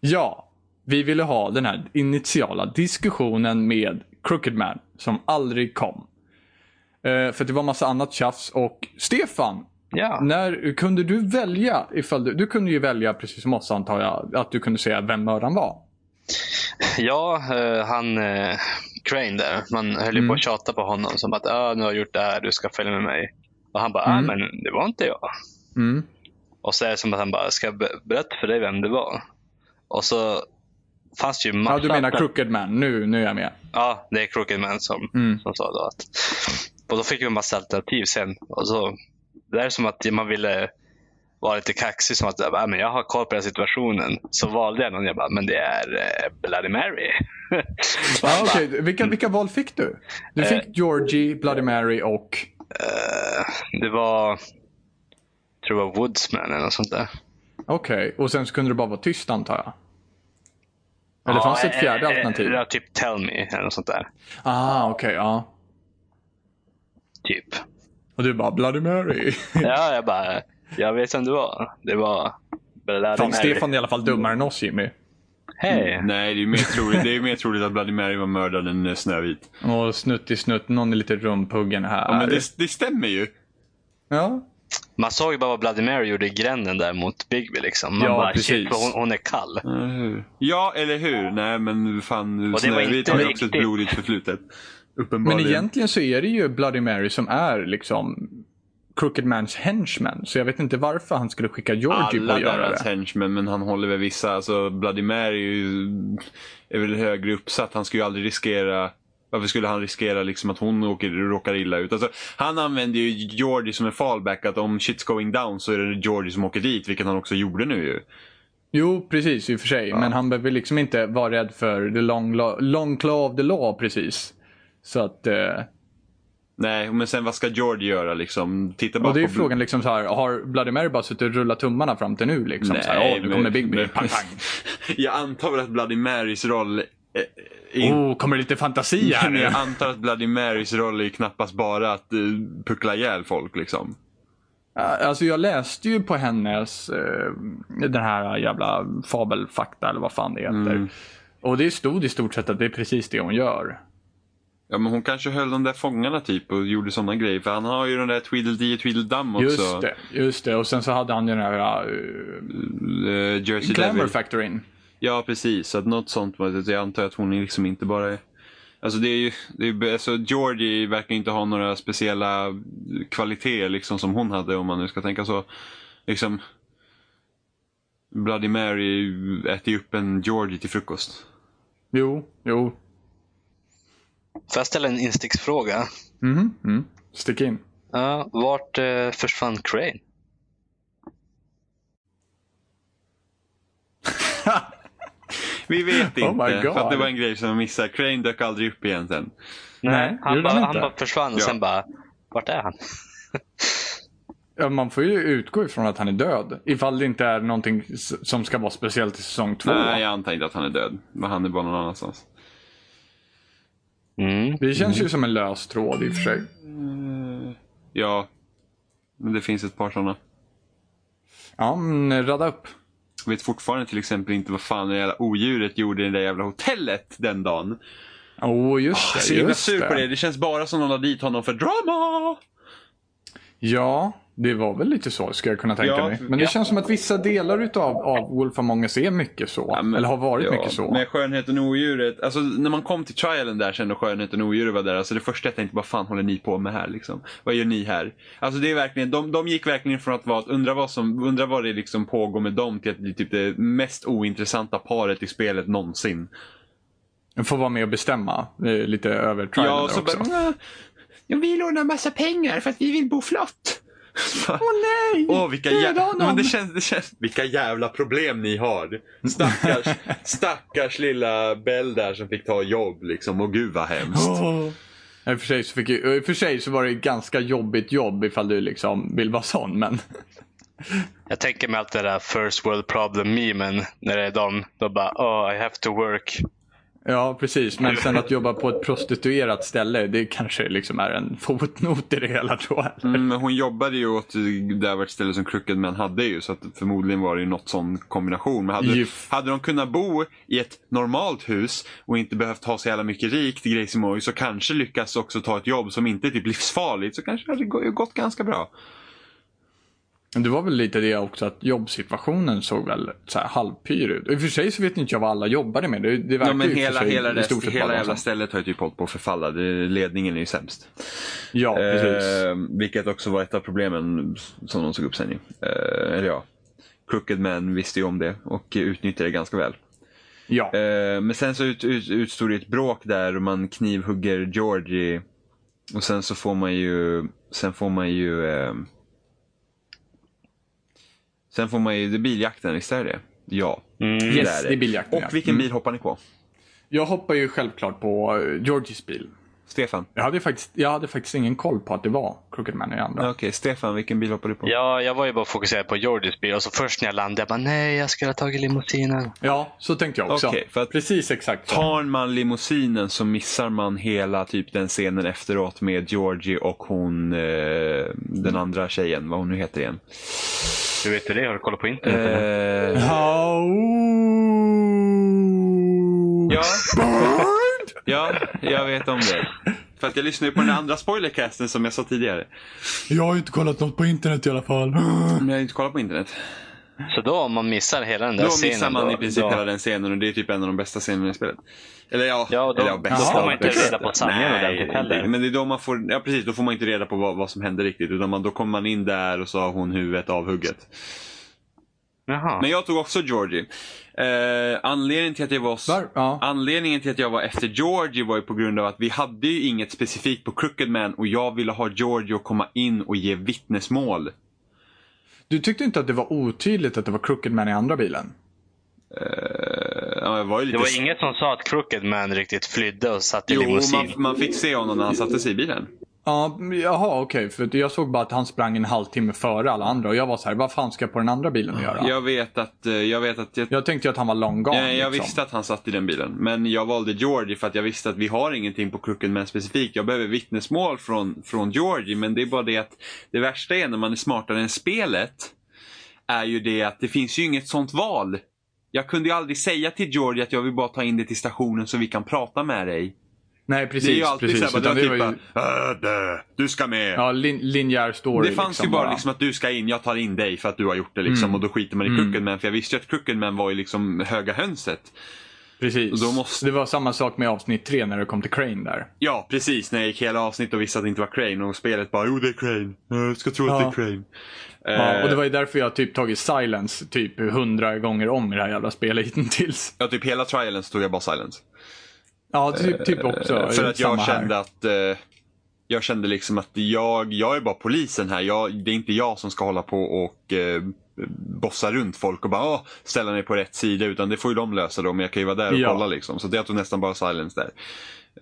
Ja, vi ville ha den här initiala diskussionen med Crooked Man som aldrig kom. Eh, för det var massa annat tjafs och Stefan, Ja. när kunde du välja ifall du, du kunde ju välja precis som oss antar jag, att du kunde säga vem mördaren var. Ja, eh, han eh, Crane där. Man höll ju på att tjata på honom. Som att ah, nu har jag gjort det här, du ska följa med mig. Och han bara, ah, men det var inte jag. Mm. Och så är det som att han bara, ska jag be- berätta för dig vem det var? Och så fanns det ju massa... Ja, du menar alter- Crooked Man. Nu, nu är jag med. Ja, det är Crooked Man som, Mm. som sa då att... Och då fick vi en massa alternativ sen. Och så, det är som att man ville vara lite kaxig. Som att ah, men jag har koll på den här situationen. Så valde jag någon. Jag bara, men det är eh, Bloody Mary. Och han Ja, bara, okej. vilka, vilka val fick du? Du Eh. fick Georgie, Bloody Mary och... Det var, tror jag var Woodsman eller något sånt där. Okej, och sen så kunde det bara vara tyst antar jag? Eller fanns det ett fjärde eh, eh, alternativ? Ja, typ Tell Me eller något sånt där. Ah, okej, ja. Typ. Och du bara Bloody Mary. Ja, jag bara, jag vet vem det var. Det var Bloody Fan, Mary. Stefan är i alla fall dummare än oss Jimmy. Hej! Nej, det är ju mer troligt, det är ju mer troligt att Bloody Mary var mördaren än eh, Snövit. Och snutt i snutt, någon är lite rumpuggen här. Ja, men det, det stämmer ju. Ja. Man såg ju bara vad Bloody Mary gjorde i gränden där mot Bigby. Liksom. Man Ja, bara, precis. shit, vad hon, hon är kall. Eller hur? Ja, eller hur? Nej, men fan. var Snövit inte har ju också riktigt- ett blodigt förflutet. Men Uppenbarligen. egentligen så är det ju Bloody Mary som är liksom Crooked Mans henchman. Så jag vet inte varför han skulle skicka Georgie på alla att typ göra deras det. henchmen, men han håller väl vissa. Alltså, Bloody Mary är, ju, är väl högre uppsatt. Han skulle ju aldrig riskera... Varför skulle han riskera liksom att hon åker, råkar illa ut? Alltså, han använder ju Georgie som en fallback. Att om shit's going down så är det Georgie som åker dit, vilket han också gjorde nu ju. Jo, precis i och för sig. Men han behöver liksom inte vara rädd för the long, law, long claw of the law precis. Så att... Eh, Nej, men sen vad ska Georgie göra liksom? Titta bara och det är ju på... frågan liksom så här, har Bloody Mary bara suttit och rullat tummarna fram till nu liksom? så här, Nej, "Åh, nu men- kommer Big B. men- Pang, pang. Jag antar väl att Bloody Marys roll... eh, är inte- Oh, kommer det lite fantasi här Men nu? jag antar att Bloody Marys roll är ju knappast bara att eh, puckla ihjäl folk liksom. Alltså jag läste ju på hennes, eh, den här jävla fabelfakta eller vad fan det heter. Mm. Och det stod i stort sett att det är precis det hon gör. Ja men hon kanske höll de där fångarna typ och gjorde sådana grejer. För han har ju den där Tweedledee och Tweedledum också. Just det, just det. Och sen så hade han ju den här Eh, uh, Jersey Glamour Devil. Factorin. Ja precis, så att något sånt. var det. Jag antar att hon är liksom inte bara är... Alltså det är ju, det är, alltså Georgie verkar inte ha några speciella kvaliteter liksom som hon hade om man nu ska tänka så. Liksom, Bloody Mary äter ju upp en Georgie till frukost. Jo, jo. Får jag ställa en insticksfråga? Mhm, Mm. Stick in. Ja, vart eh, försvann Crane? Vi vet inte. Oh my God. för att det var en grej som jag missade. Crane dök aldrig upp igen sen. Nej, han, gjorde bara, han han inte? bara försvann och Ja. sen bara, vart är han? Ja, Man får ju utgå ifrån att han är död. Ifall det inte är någonting s- som ska vara speciellt i säsong två. Nej, jag antar inte att han är död. Men han är bara någon annanstans. Mm. Det känns ju som en lös tråd i och för sig. Ja, men det finns ett par sådana. Ja, men eh, radda upp. Jag vet fortfarande till exempel inte vad fan det jävla odjuret gjorde i det där jävla hotellet den dagen. Åh, oh, just Jag är Ah, så det. himla Just sur på det. Det känns bara som någon har dit honom för drama. Ja, det var väl lite så skulle jag kunna tänka Ja, mig. Men det ja. känns som att vissa delar utav, av Wolf Among Us är mycket så. Ja, men- eller har varit ja, mycket så. Men skönheten och odjuret. Alltså när man kom till trialen där sen och skönheten och odjuret var där. Alltså det första jag tänkte, vad fan håller ni på med här liksom? Vad gör ni här? Alltså det är verkligen, de, de gick verkligen från att vara, att undra vad som, undra vad det liksom pågår med dem till att bli typ det mest ointressanta paret i spelet någonsin. Får vara med och bestämma eh, lite över trailern Ja, och där så också. bara, ja, vi lånar massa pengar för att vi vill bo flott. Åh nej! Åh, vilka, Döda jä- honom! men det känns, det känns, vilka jävla problem ni har. Stackars, stackars lilla Bell där som fick ta jobb liksom. Och gud vad hemskt. Åh. Ja, I och, för sig så fick ju, I och för sig så var det ett ganska jobbigt jobb ifall du liksom vill vara sån. Men Jag tänker mig allt det där first world problem-memen. När det är de, då bara, oh I have to work. ja, precis. Men sen att jobba på ett prostituerat ställe, det kanske liksom är en fotnot i det hela tror jag. eller? Mm, men hon jobbade ju åt det var ett ställe som Crooked Man hade ju. Så att förmodligen var det ju något sån kombination. Men hade, Ju- hade de kunnat bo i ett normalt hus och inte behövt ha så jävla mycket rikt i Graciemoy så kanske lyckas också ta ett jobb som inte är typ livsfarligt. Så kanske hade det gå- gått ganska bra. Men Det var väl lite det också att jobbsituationen såg väl så här halvpyr ut. I och för sig så vet inte jag vad alla jobbade med. Det, det verkar Ja, men ju i och för hela, sig hela, i rest, stort sett bara hela alltså. jävla vara så. stället har ju typ hållit på att förfalla. Det- Ledningen är ju sämst. Ja, precis. Eh, vilket också var ett av problemen som de tog upp sen ju. Eh, eller ja. Crooked Man visste ju om det och utnyttjade det ganska väl. ja. Eh, men sen så ut, ut, utstod det ett bråk där och man knivhugger Georgie. Och sen så får man ju... Sen får man ju... Eh, sen får man ju... Det är biljakten, visst är det Ja. Mm. yes, där. det är biljakten. Och ja. Mm. vilken bil hoppar ni på? Jag hoppar ju självklart på eh, Georgies bil. Stefan? Jag hade, ju faktiskt, jag hade faktiskt ingen koll på att det var Crooked Man i andra. Okej, Stefan, vilken bil hoppar du på? Ja, jag var ju bara fokuserad på Jordis bil och så först när jag landade, jag bara, nej jag skulle ha tagit limousinen. Ja, så tänkte jag också. Okej, för att- Precis exakt så. Tar man limousinen så missar man hela typ den scenen efteråt med Georgie och hon, eh, den andra tjejen, vad hon nu heter igen. Du vet hur det är, har du kollat på internet? eller? Eh, Ja, oh. ja, ja, jag vet om det. För att jag lyssnar ju på den andra spoilercasten som jag sa tidigare. Jag har ju inte kollat något på internet i alla fall. Men jag har inte kollat på internet. Så då om man missar hela den där Då scenen. missar man då, i princip då, hela den scenen och det är typ en av de bästa scenerna i spelet. Eller ja, Ja, och då- eller ja, bästa då får man av inte bästa. reda på sanningen Nej, ordentligt heller. Men det är då man får, ja precis, då får man inte reda på vad, vad som hände riktigt. Utan man, då kommer man in där och så har hon huvudet avhugget. Jaha. Men jag tog också Georgie. Eh, anledningen till att jag var s- Var- ja. Anledningen till att jag var efter Georgie var ju på grund av att vi hade ju inget specifikt på Crooked Man och jag ville ha Georgie att komma in och ge vittnesmål. Eh, Du tyckte inte att det var otydligt att det var Crooked Man i andra bilen? Ja, jag var ju lite det var inget som sa att Crooked Man riktigt flydde och satt i Jo, limousin. man, man fick se honom när han satte sig i bilen. Ja, men jaha okej. För jag såg bara att han sprang en halvtimme före alla andra och jag var så här, vad fan ska jag på den andra bilen att göra? Jag vet att, eh, jag vet att jag, Jag tänkte ju att han var long gone. jag, jag liksom. visste att han satt i den bilen. Men jag valde Georgie för att jag visste att vi har ingenting på Crooked Man specifikt. Jag behöver vittnesmål från, från Georgie. Men det är bara det att det värsta är när man är smartare än spelet. Är ju det att det finns ju inget sånt val. Jag kunde ju aldrig säga till Georgie att jag vill bara ta in dig till stationen så vi kan prata med dig. Nej precis. Det är ju alltid precis, såhär, utan det det var var typ ju, bara, "Äh, dö, du ska med. ja, lin, linjär story. Det fanns ju bara liksom att du ska in, jag tar in dig för att du har gjort det liksom. Och då skiter man i Crooked Man. För jag visste ju att Crooked Man var ju liksom höga hönset. Precis. och då måste- Det var samma sak med avsnitt tre när det kom till Crane där. Ja, precis. När jag gick hela avsnitt och visste att det inte var Crane. Och spelet bara, jo det är Crane. Jag ska tro att det är Ja. Crane. Ja, Eh, och det var ju därför jag typ tagit silence typ hundra gånger om i det här jävla spelet hittills. Ja, typ hela trialen så tog jag bara silence. Ja, typ, typ också. Eh, för att jag samma här. kände att eh, jag kände liksom att jag, jag är bara polisen här. Jag, det är inte jag som ska hålla på och eh, bossa runt folk och bara "Åh, ställa mig på rätt sida. Utan det får ju de lösa då. Men jag kan ju vara där och Ja. kolla liksom. Så det jag tog nästan bara silence där.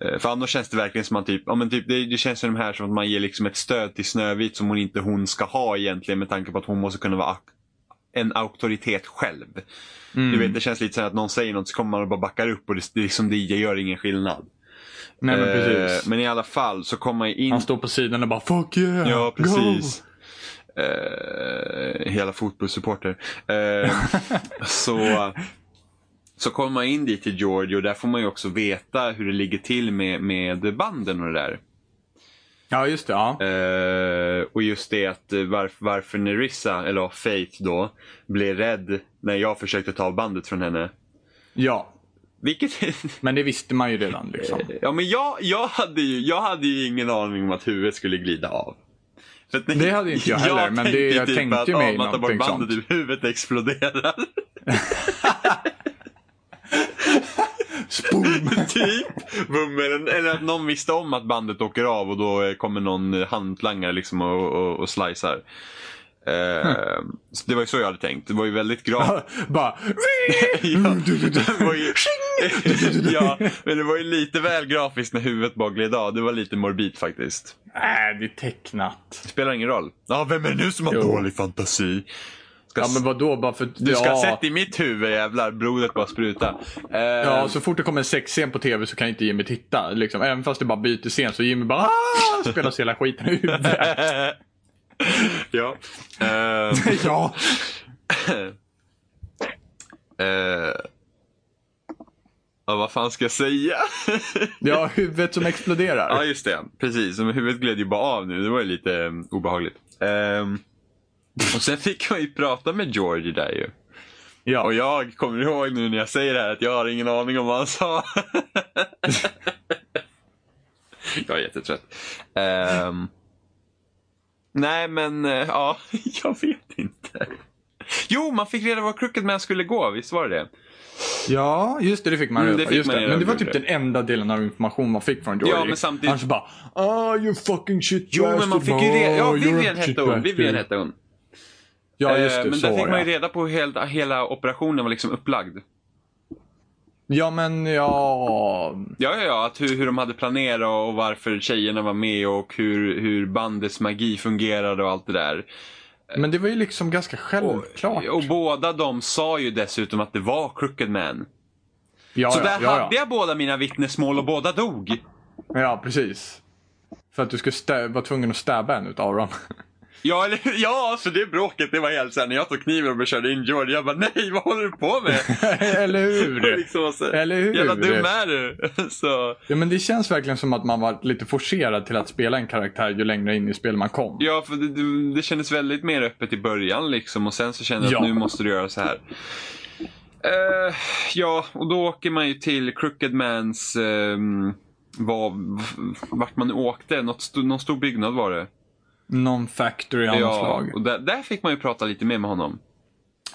Eh, För annars känns det verkligen som att typ, ja, men typ, det, det känns ju de här som att man ger liksom ett stöd till Snövit som hon inte hon ska ha egentligen med tanke på att hon måste kunna vara ak- en auktoritet själv. Mm. Du vet, det känns lite så här att någon säger något så kommer man och bara backar upp och det, det, är liksom, det gör ingen skillnad. Nej men Eh, precis. men i alla fall så kommer man ju in... Han står på sidan och bara “Fuck yeah, ja, go!” precis. Eh, hela fotbollssupporter. Eh, så, så kommer man in dit till Georgie och där får man ju också veta hur det ligger till med, med banden och det där. Ja, just det. Ja. Eh, och just det att eh, varf- varför Nerissa, eller ja, Faith då, blev rädd när jag försökte ta bandet från henne. ja. Vilket Men det visste man ju redan liksom. Ja, men jag, jag, hade ju, jag hade ju ingen aning om att huvudet skulle glida av. För att när- Det hade inte jag heller, men det- ju jag tänkte att, ju mig ja, man tar bort någonting bandet ur huvudet exploderar. Spoom! typ. Bummel, eller att någon visste om att bandet åker av och då eh, kommer någon eh, hantlangare liksom och, och, och slicear. Eh, så det var ju så jag hade tänkt. Det var ju väldigt gravt. bara... ja, Mm, det var ju... ja, men det var ju lite väl grafiskt när huvudet bara gled av. Det var lite morbid faktiskt. Nej, det är tecknat. spelar ingen roll. Ja, vem är det nu som har Jo. dålig fantasi? Ska Ja, men vadå? Bara för... Du ska ja. ha sett i mitt huvud jävlar, blodet bara spruta. Eh, Ja, så fort det kommer en sexscen på tv så kan inte Jimmy titta. Liksom. Även fast det bara byter scen så Jimmy bara "Ah!" spelar sig hela skiten i huvudet. ja. Eh, ja. eh, ja, vad fan ska jag säga? ja, huvudet som exploderar. ja, just det. Precis, men huvudet gled ju bara av nu. Det var ju lite eh, obehagligt. Ehm, och sen fick jag ju prata med George där ju. Ja. Och jag kommer ihåg nu när jag säger det här att jag har ingen aning om vad han sa. jag är jättetrött. Ehm, nej men, eh, ja, jag vet inte. Jo, man fick reda på var Crooked Man skulle gå, visst var det det? ja, just det, det fick man Mm, det reda på. fick Just man det. reda Men det på, var typ gjorde den enda delen av information man fick från Georgie. Ja, men samtidigt- Annars bara ah you fucking shit Jo, men man bastard, fick ju reda... Ja, ah, you're a Vivian shit hette hon. bastard." Vivian hette hon. Ja, just Eh, det. men så där fick var man ju det. reda på hur hela, hela operationen var liksom upplagd. Ja, men ja. Ja, ja, ja. Att hur, hur de hade planerat och varför tjejerna var med och hur, hur bandets magi fungerade och allt det där. Men det var ju liksom ganska självklart. Eh. Och båda de sa ju dessutom att det var Crooked Man. Ja, Så ja, där ja, ja. hade jag båda mina vittnesmål och båda dog. Ja, precis. För att du skulle stä- vara tvungen att stäba en utav dem. Ja, eller, ja, så det bråket det var helt såhär när jag tog kniven och körde in George. Jag bara nej, vad håller du på med? Eller Och hur? liksom, så, Eller hur? Jävla dum är du. så, Ja, men det känns verkligen som att man var lite forcerad till att spela en karaktär ju längre in i spelet man kom. ja, för det, det, det kändes väldigt mer öppet i början liksom och sen så kände jag att Ja. nu måste du göra så här. Eh, ja, och då åker man ju till Crooked Mans, ehm, vad- vart man nu åkte. Något, st- någon stor byggnad var det. Non factory av något slag. och där, där fick man ju prata lite mer med honom.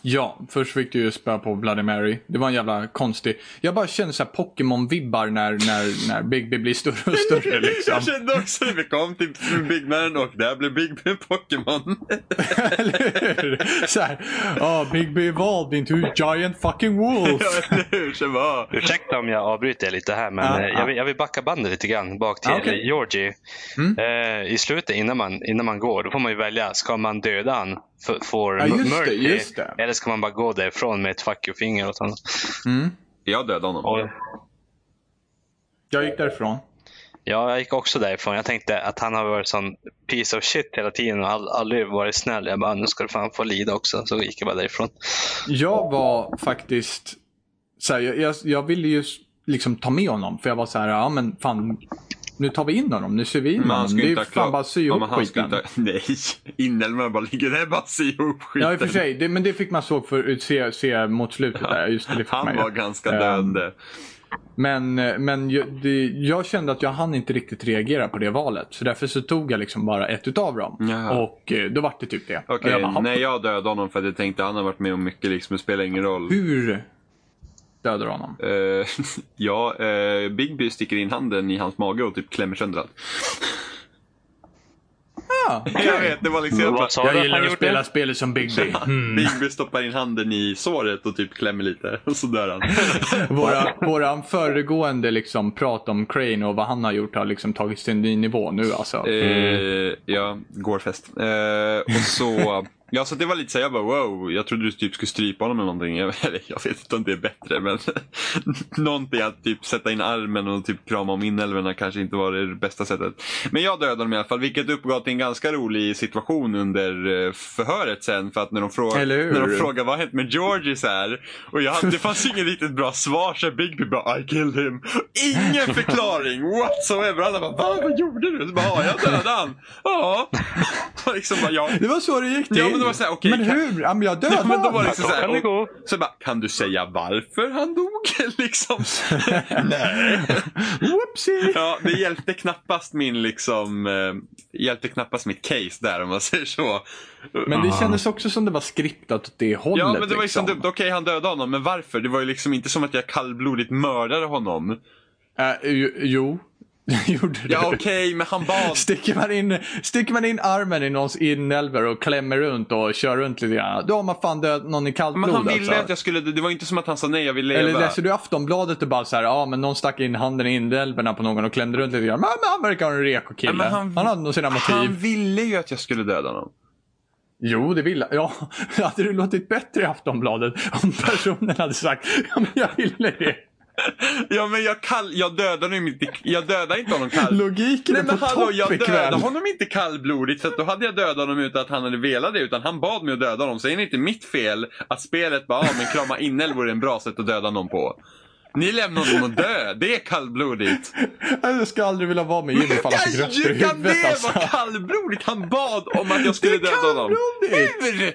Ja, först fick du ju spö på Bloody Mary. Det var en jävla konstig... Jag bara känner såhär Pokémon-vibbar när, när, när Bigby blir större och större liksom. Jag kände också att vi kom till byggnaden och där blev Big Ben Pokémon. Eller hur? Såhär, ja Bigby evolved into giant fucking wolf. Ja, eller hur? Så bara, Ursäkta om jag avbryter er lite här, men Ja, eh, ja. Jag, vill, jag vill backa bandet lite grann bak till eh, Ja, okej. Georgie. Mm. Eh, I slutet innan man, innan man går, då får man ju välja. Ska man döda han för, för Ja, M- just det, Murphy? just det. Eller ska man bara gå därifrån med ett fuck you-finger åt honom? Mm. Jag dödade honom. Och, Jag gick därifrån. ja, jag gick också därifrån. Jag tänkte att han har varit sån piece of shit hela tiden och all, aldrig varit snäll. Jag bara, nu ska du fan få lida också. Så gick jag bara därifrån. Jag var faktiskt... Så här, jag, jag, jag ville ju s- liksom ta med honom. För jag var så här, ja men fan. Nu tar vi in honom. Nu syr vi in Men han honom. skulle Det är inte ju ha fan klarat... bara att sy Ja, ihop men han skulle skiten. inte ha- Nej, inälvorna bara ligger där bara sy ihop skiten. Ja i och för sig. Det, men det fick man såg för, se, se mot slutet där. Just det, det fick man Han ju. var ganska Ehm, döende. Men, eh, men jag, det, jag kände att jag hann inte riktigt reagera på det valet. Så därför så tog jag liksom bara ett utav dem. Jaha. Och eh, då vart det typ det. Och Okej, jag bara, "Hopp, nej jag dödade honom för att jag tänkte han har varit med om mycket liksom, det spelar ingen roll. Hur dödar du honom? Eh, ja, uh, Bigby sticker in handen i hans mage och typ klämmer sönder allt. Ah, Jag vet, det var liksom... Jag bara, Vad sa du jag att gillar han att gjorde? spela spelet som Big B. Bigby stoppar in handen i såret och typ klämmer lite. Och så dör han. Våra, våran föregående liksom prat om Crane och vad han har gjort har liksom tagits till en ny nivå nu alltså. Eh, ja, gårfest. Eh, och så, ja, så det var lite så här, jag bara wow, jag trodde du typ skulle strypa honom eller någonting. Jag, eller, jag vet inte om det är bättre men någonting att typ sätta in armen och typ krama om inälvorna kanske inte var det bästa sättet. Men jag dödade honom i alla fall vilket uppgav till en ganska rolig situation under eh, förhöret sen för att när de, fråga, Eller hur? när de frågade vad har hänt med Georgie så här och jag, hade- det fanns inget riktigt bra svar så Bigby bara I killed him. Ingen förklaring whatsoever. Alla bara Va, vad gjorde du? Så bara, ja, jag dödade han. Ja. Och liksom bara, ja. Det var så det gick till. Ja, men det var så här, okej, Men kan- hur? Ja, men jag dödade Ja, men då var det honom. liksom så Kan det här, gå? och, så bara, kan du säga varför han dog? liksom. Nej. Whoopsie! Ja, det hjälpte knappast min liksom, eh, hjälpte knappast mitt case där om man säger så. Men det kändes också som det var skriptat åt det hållet. Ah. Ja, men det var ju så liksom. dumt. Okej, han dödade honom, men varför? Det var ju liksom inte som att jag kallblodigt mördade honom. Eh, ju- jo, gjorde du. Ja, okej, men han bad. Sticker man, in, sticker man in armen i någons inälvor och klämmer runt och kör runt lite grann. Då har man fan dödat någon i kallt Men blod han ville alltså. att jag skulle, det var inte som att han sa nej, jag vill leva. Eller läser du Aftonbladet och bara så här, ja men någon stack in handen i inälvorna på någon och klämde runt lite grann. Men men han verkar ha en reko kille. Ja, men han- han, hade nog sina motiv. Han ville ju att jag skulle döda honom. Jo, det vill han. Ja, hade det låtit bättre i Aftonbladet om personen hade sagt, ja men jag ville det. Ja, men jag, kall, jag dödade honom inte, jag dödade inte honom kall. Logiken Alltså- Nej är men på hallå, topp jag ikväll. dödade honom inte kallblodigt för att då hade jag dödat honom utan att han hade velat det. Utan han bad mig att döda honom. Så är det inte mitt fel att spelet bara, ah, men krama inälvor är en bra sätt att döda någon på. Ni lämnar honom att dö. Det är kallblodigt. Jag skulle aldrig vilja vara med Jimmy ifall han fick röster i Hur kan huvudet det alltså. vara kallblodigt? Han bad om att jag Det skulle är döda honom. kallblodigt! Hur?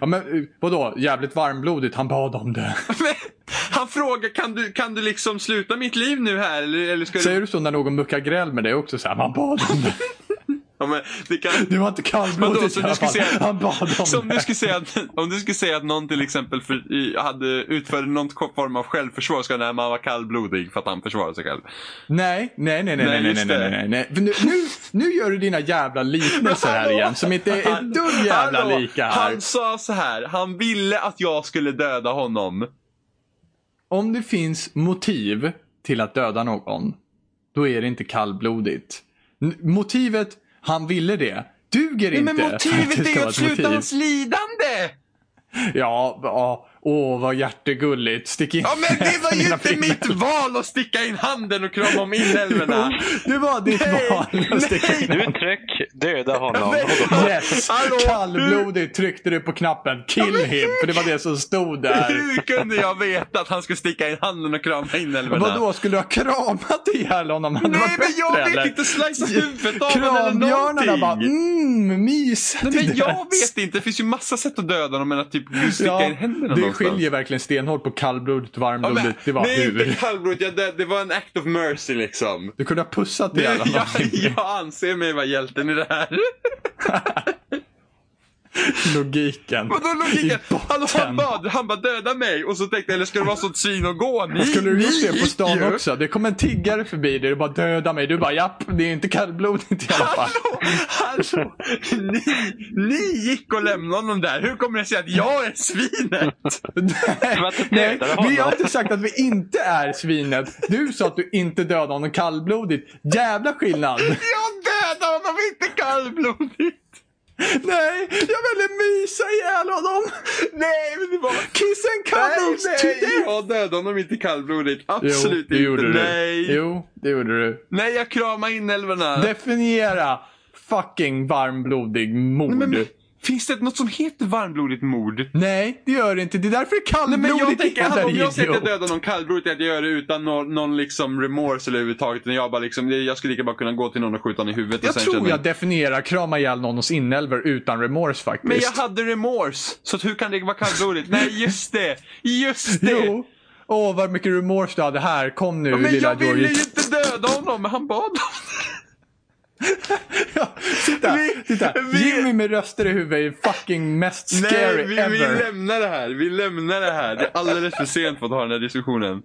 Ja men eh, vadå, jävligt varmblodigt, han bad om det. Men, han frågar, kan du, kan du liksom sluta mitt liv nu här? Eller, eller ska du... Säger du så när någon muckar gräl med dig också? Så här, man bad om det. Ja, men, det kan... Det var inte Vadå, kallblodigt så i du alla skulle fall. säga- Han bad om Så om det. du skulle säga att, om du skulle säga att någon till exempel för, i, hade utförde någon form av självförsvar så skulle han vara kallblodig för att han försvarade sig själv. Nej, nej, nej, nej, Nej, nej, nej, nej, just nej, det. nej, nej. För Nu, nu, nu gör du dina jävla liknelser här Hallå? igen som inte är ett dugg jävla Hallå, lika här. Han sa så här, han ville att jag skulle döda honom. Om det finns motiv till att döda någon, då är det inte kallblodigt. N- motivet, han ville det, duger Nej, inte. men för att det motivet ska är ju vara att ett sluta motiv. hans lidande! Ja, ja. Åh, vad hjärtegulligt. Stick in Ja men det var ju mina inte pinnar." mitt val att sticka in handen och krama om inälvorna. Det var ditt Nej, val. att sticka in nej. Du är tröck, döda honom. Yes! Hallå? Kallblodigt tryckte du på knappen kill him, för det var det som stod där. Hur kunde jag veta att han skulle sticka in handen och krama inälvorna? Vadå, skulle du ha kramat ihjäl honom? Hade det varit Nej men jag bättre, vet eller? inte, slicea huvudet av honom eller Krambjörnarna någonting. bara mm, mys. Nej, men jag vet inte, det finns ju massa sätt att döda dem än att typ sticka in händerna Det någonstans. skiljer verkligen stenhårt på kallblodigt och Ja, men- varmblodigt. det var Nej, hur. inte kallblod. Jag, det, det var en act of mercy liksom. Du kunde ha pussat ihjäl Det, jag, honom. jag anser mig vara hjälten i det här. Logiken. Vadå logiken? I botten. Alltså, han bad, han bad döda mig och så tänkte jag, eller ska det vara sånt svin och gå? Ni, Skulle du ni gjort det på gick stan ju. också? Det kom en tiggare förbi dig och bara döda mig. Du bara japp, det är inte kallblodigt i alla fall. Hallå, hallå! Alltså, Ni, ni gick och lämnade honom där. Hur kommer det sig att jag är svinet? var inte Nej, dödade honom. vi har inte sagt att vi inte är svinet. Du sa att du inte dödade honom kallblodigt. Jävla skillnad. Jag dödade honom, inte kallblodigt! Nej, jag ville mysa ihjäl honom. Nej, men det var... Kissen Nej, cuddles nej, today. jag dödade honom inte kallblodigt. Absolut det gjorde inte. du. Nej. Jo, det gjorde du. Nej, jag kramade inälvorna. Definiera fucking varmblodig mord. Men, men, finns det något som heter varmblodigt mord? Nej, det gör det inte. Det är därför det är Nej, men kallblodigt. jag tänker att om jävla jag sätter idiot. döda någon kallblodigt, att jag gör det utan någon, någon liksom remorse eller överhuvudtaget. utan Jag, bara liksom, jag skulle lika bara kunna gå till någon och skjuta honom i huvudet. och Jag sen tror känna- jag definierar krama ihjäl någons inälvor utan remorse faktiskt. Men jag hade remorse, så att hur kan det vara kallblodigt? Nej, just det! Just det! Jo. Åh, vad mycket remorse du hade här. Kom nu, men lilla jag ville Georgie. ju inte döda honom, men han bad om det. Ja, titta, Vi- titta. vi- Jimmy med röster i huvudet är fucking mest scary Nej, vi, ever. vi lämnar det här. Vi lämnar det här. Det är alldeles för sent för att ha den här diskussionen.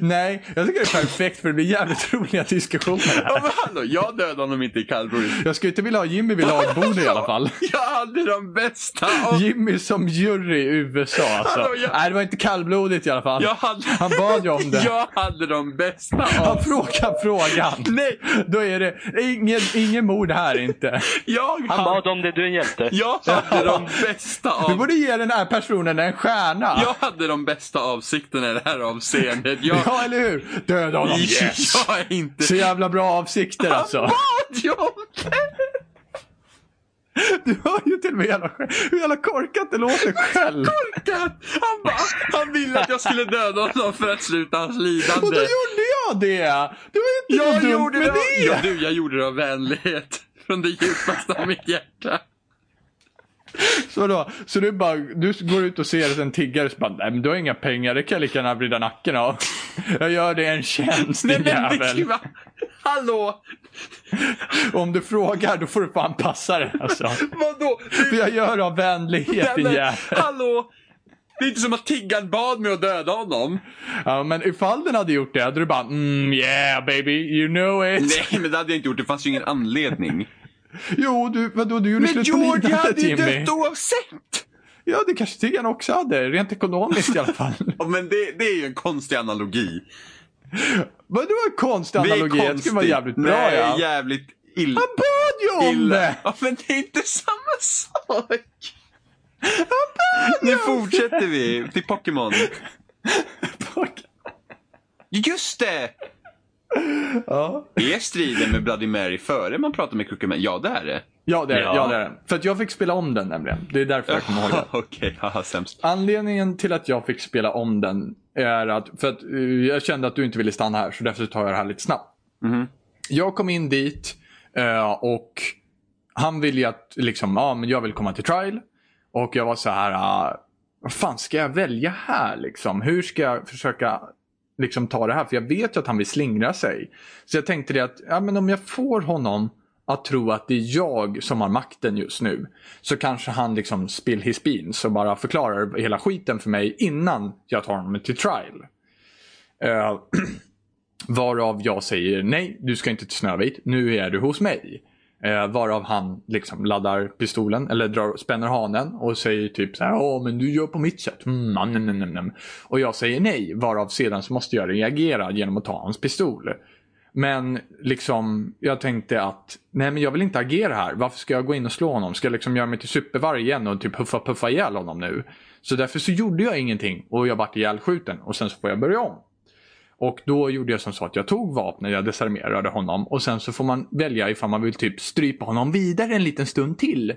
Nej, jag tycker det är perfekt för det blir jävligt roliga diskussioner Ja, här. men hallå, jag dödade honom inte i kallblodigt. Jag skulle inte vilja ha Jimmy vid lagbord i alla fall. Jag hade de bästa av... Jimmy som jury i USA alltså. Hallå, jag- Nej, det var inte kallblodigt i alla fall. Jag hade... Han bad ju om det. Jag hade de bästa Han av... frågar frågan. Nej, Då är det ingen, ingen mord här inte. jag Han hade... bad om det, du är en hjälte. Jag hade de bästa Du av... borde ge den här personen en stjärna. Jag hade de bästa avsikterna i det här avseendet. Jag... Ja, eller hur? Döda honom. Yes. Jag är inte... Så jävla bra avsikter alltså. Vad jag Du hör ju till och med jävla, hur jävla korkat det låter själv. orkat! Han, bara, han ville att jag skulle döda honom för att sluta hans Och då lidande. gjorde jag det! Det var inte Jag så dumt gjorde med det, av- det! Ja, du, jag gjorde det av vänlighet. Från det djupaste av mitt hjärta. Så, då, så du, bara, du går ut och ser en tiggare och så bara, nej men du har inga pengar, det kan jag lika gärna vrida nacken av. Jag gör dig en tjänst Nej din men det jävel. va? Hallå! Om du frågar då får du fan passa dig alltså. Vadå? För Det, jag gör det av vänlighet nej, din men, jävel. hallå! Det är inte som att tiggaren bad mig att döda honom. Ja, men ifall den hade gjort det hade du bara, mm yeah baby, you know it. Nej, men det hade jag inte gjort. Det fanns ju ingen anledning. Jo, du, vadå, du gjorde Men slut på George jag hade lidandet ju Jimmy. dött oavsett! Ja, det kanske tiggaren också hade, rent ekonomiskt i alla fall. Ja, men det, det är ju en konstig analogi. Vadå en konstig Det är analogi? Det skulle vara jävligt bra Nej, ja. jävligt illa. Han bad ju om illa. det! Ja, men det är inte samma sak. Nu fortsätter vi till Pokémon. Just det! Ja. Är striden med Bloody Mary före man pratar med Crooked Man? Ja, det är det. Ja, det är ja. Ja. ja, det. Är. det. För att jag fick spela om den nämligen. Det är därför jag kommer ihåg det. Okej, haha, sämst. Anledningen till att jag fick spela om den är att, för att eh, jag kände att du inte ville stanna här så därför tar jag det här lite snabbt. Mhm. Jag kom in dit eh, och han ville ju att, liksom, ja men jag vill komma till trial. Och jag var så här, ah, vad fan ska jag välja här liksom? Hur ska jag försöka liksom ta det här? För jag vet ju att han vill slingra sig. Så jag tänkte det att, ja men om jag får honom att tro att det är jag som har makten just nu. Så kanske han liksom spill his beans och bara förklarar hela skiten för mig innan jag tar honom till trial. Eh, varav jag säger nej, du ska inte till Snövit. Nu är du hos mig. Eh, varav han liksom laddar pistolen eller drar, spänner hanen och säger typ så här, ja men du gör på mitt sätt. Mm, nam, nam, nam, nam, nam. Och jag säger nej, varav sedan så måste jag reagera genom att ta hans pistol. Men liksom, jag tänkte att nej men jag vill inte agera här. Varför ska jag gå in och slå honom? Ska jag liksom göra mig till supervarg igen och typ huffa puffa ihjäl honom nu? Så därför så gjorde jag ingenting och jag vart ihjälskjuten och sen så får jag börja om. Och då gjorde jag som så att jag tog vapnet, jag desarmerade honom och sen så får man välja ifall man vill typ strypa honom vidare en liten stund till.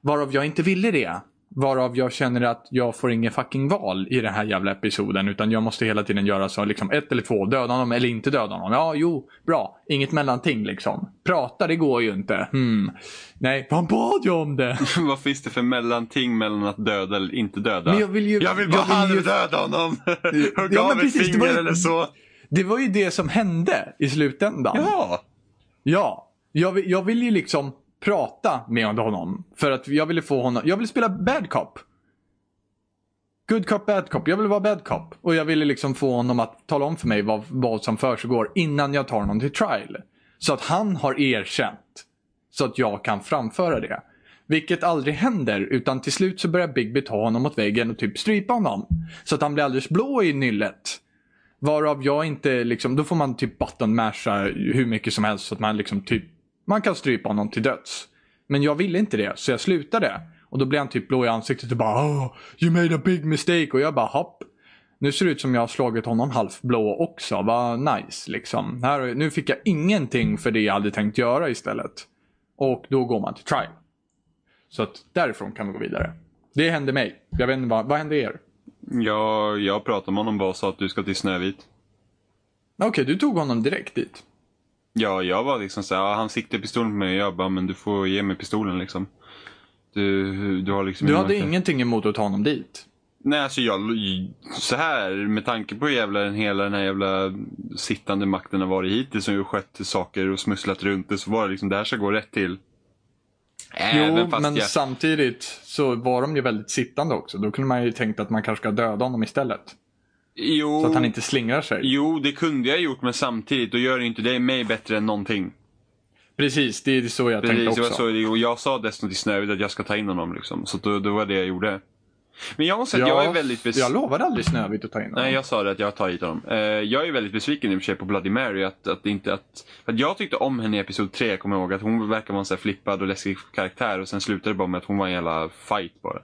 Varav jag inte ville det. Varav jag känner att jag får ingen fucking val i den här jävla episoden. Utan jag måste hela tiden göra så liksom ett eller två. Döda honom eller inte döda honom. Ja, jo, bra. Inget mellanting liksom. Prata, det går ju inte. Hmm. Nej, han bad ju om det. Vad finns det för mellanting mellan att döda eller inte döda? Men jag vill ju- jag vill bara jag vill ju- döda honom! Hugg Ja, av men ett precis, det finger var ju- eller så. Det var ju det som hände i slutändan. Ja! Ja, jag, vill- jag ville ju liksom prata med honom. För att jag ville få honom, jag ville spela bad cop. Good cop, bad cop. Jag ville vara bad cop. Och jag ville liksom få honom att tala om för mig vad, vad som försiggår innan jag tar honom till trial. Så att han har erkänt. Så att jag kan framföra det. Vilket aldrig händer utan till slut så börjar Bigby ta honom mot väggen och typ strypa honom. Så att han blir alldeles blå i nyllet. Varav jag inte liksom, då får man typ button masha hur mycket som helst så att man liksom typ, man kan strypa honom till döds. Men jag ville inte det, så jag slutade. Och då blev han typ blå i ansiktet och bara oh, you made a big mistake och jag bara hopp. Nu ser det ut som jag har slagit honom halvt blå också, vad nice liksom. Här, nu fick jag ingenting för det jag hade tänkt göra istället. Och då går man till trial. Så att därifrån kan vi gå vidare. Det hände mig. Jag vet inte vad, vad hände er? Jag, jag pratade med honom bara och sa att du ska till Snövit. Okej, du tog honom direkt dit. Ja, jag var liksom såhär, ja, han siktade pistolen på mig och jag bara, men du får ge mig pistolen liksom. Du, du har liksom Du ingen hade makt. ingenting emot att ta honom dit? Nej, alltså jag, så här med tanke på jävla, den hela den här jävla sittande makten har varit hittills som ju skött saker och smusslat runt det så var det liksom, det här ska gå rätt till. jo, Även Äh, fast men jag, samtidigt så var de ju väldigt sittande också. Då kunde man ju tänkt att man kanske ska döda honom istället. jo, Så att han inte slingrar sig. jo, det kunde jag gjort men samtidigt, då gör det inte dig mig bättre än någonting. Precis, det är så jag Precis, tänkte det var också. så, det- och jag sa dessutom till Snövit att jag ska ta in honom liksom. Så då, då var det jag gjorde. Men jag måste säga att jag är väldigt bes- jag lovade aldrig Snövit att ta in honom. Nej, jag sa det att jag tar hit honom. Eh, jag är väldigt besviken i och för sig på Bloody Mary. Att, att det inte, att, för att jag tyckte om henne i Episod 3, jag kommer ihåg. Att hon verkar vara en sån här flippad och läskig karaktär. Och sen slutade det bara med att hon var en jävla fight bara.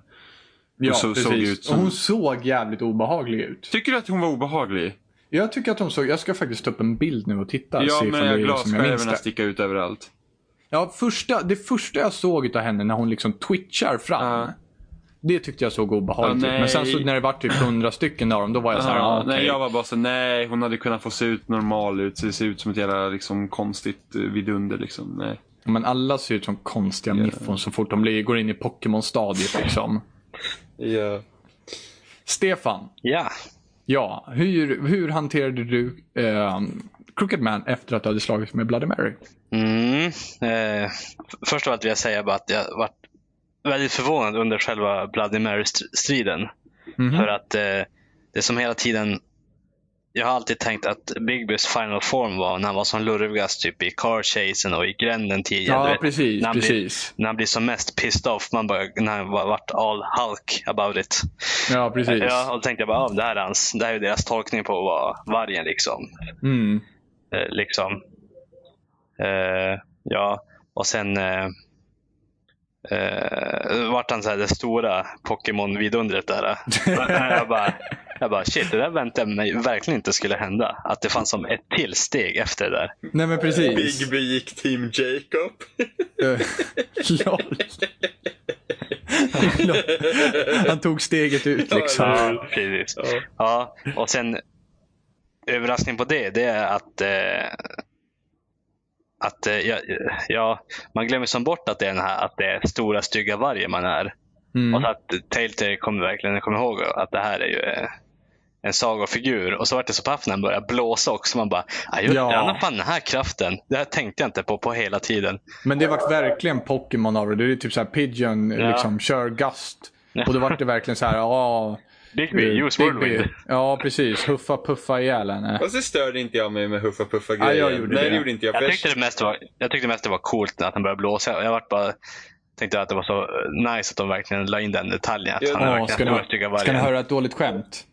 ja, så- precis. såg ut som- Och Hon såg jävligt obehaglig ut. Tycker du att hon var obehaglig? Jag tycker att hon såg... Jag ska faktiskt ta upp en bild nu och titta. ja, se men ifall det är som jag minns glasskärvorna det. sticka ut överallt. Ja, första, det första jag såg av henne när hon liksom twitchar fram. Ja. Det tyckte jag såg obehagligt Ja, ut. Men sen så nej. när det var typ hundra stycken av dem, då var jag så här, ah, okej. Nej, jag var bara så nej hon hade kunnat få se ut normal ut. Se, se ut som ett jävla liksom, konstigt eh, vidunder liksom. Nej. Men alla ser ut som konstiga miffon så fort de blir, går in i Pokémon-stadiet liksom. Ja. Stefan, Ja. ja. Hur, hur hanterade du eh, Crooked Man efter att du hade slagit med Bloody Mary? Mm. Eh, f- först av allt vill jag säga bara att jag varit väldigt förvånad under själva Bloody Mary-striden. Mhm. För att eh, det som hela tiden... Jag har alltid tänkt att Bigbys final form var när han var som lurvigast typ i car chasen och i gränden tidigare. du Ja, vet. precis. när han blir- precis. när han blir som mest pissed off. Man bara, när han var- vart all Hulk about it. Ja, precis. Ja, och då tänkte jag bara, ah, det här är, hans, det här är deras tolkning på vad vargen liksom. Mm. Eh, liksom. Eh, ja, och sen eh, eh, vart han så här det stora Pokémon-vidundret där. eh. jag, bara, jag bara, shit, det där väntade jag mig verkligen inte skulle hända. Att det fanns som ett till steg efter det där. Nej, men precis. Big B gick Team Jacob. Eh, Lol. Lol. Han tog steget ut liksom. Ja, precis. Ja, och sen överraskning på det, det är att, eh, att eh, ja, ja, man glömmer som bort att det är den här att det är stora stygga vargen man är. Och Mm. så att Telltale kommer verkligen komma ihåg att det här är ju eh, en sagofigur. Och så vart det så paff när han började blåsa också. Man bara, "Aj, just det, Ja. han har fan den här kraften. Det här tänkte jag inte på på hela tiden. Men det vart verkligen Pokémon av det. Det är typ såhär Pigeon, Ja. liksom, kör gust. Ja. Och då vart det verkligen så här, ja. Bigby, use whirlwind. Ja, precis. Huffa puffa ihjäl henne. Och så störde inte jag mig med Huffa Puffa Ja, jag gjorde det. inte för Jag tyckte, det mest var, jag tyckte mest det var coolt när att han började blåsa. Jag vart bara, tänkte att det var så eh, nice att de verkligen la in den detaljen. Att Ja, han är Åh, verkligen ska, ni, övertygad ska ni varje. höra ett dåligt skämt?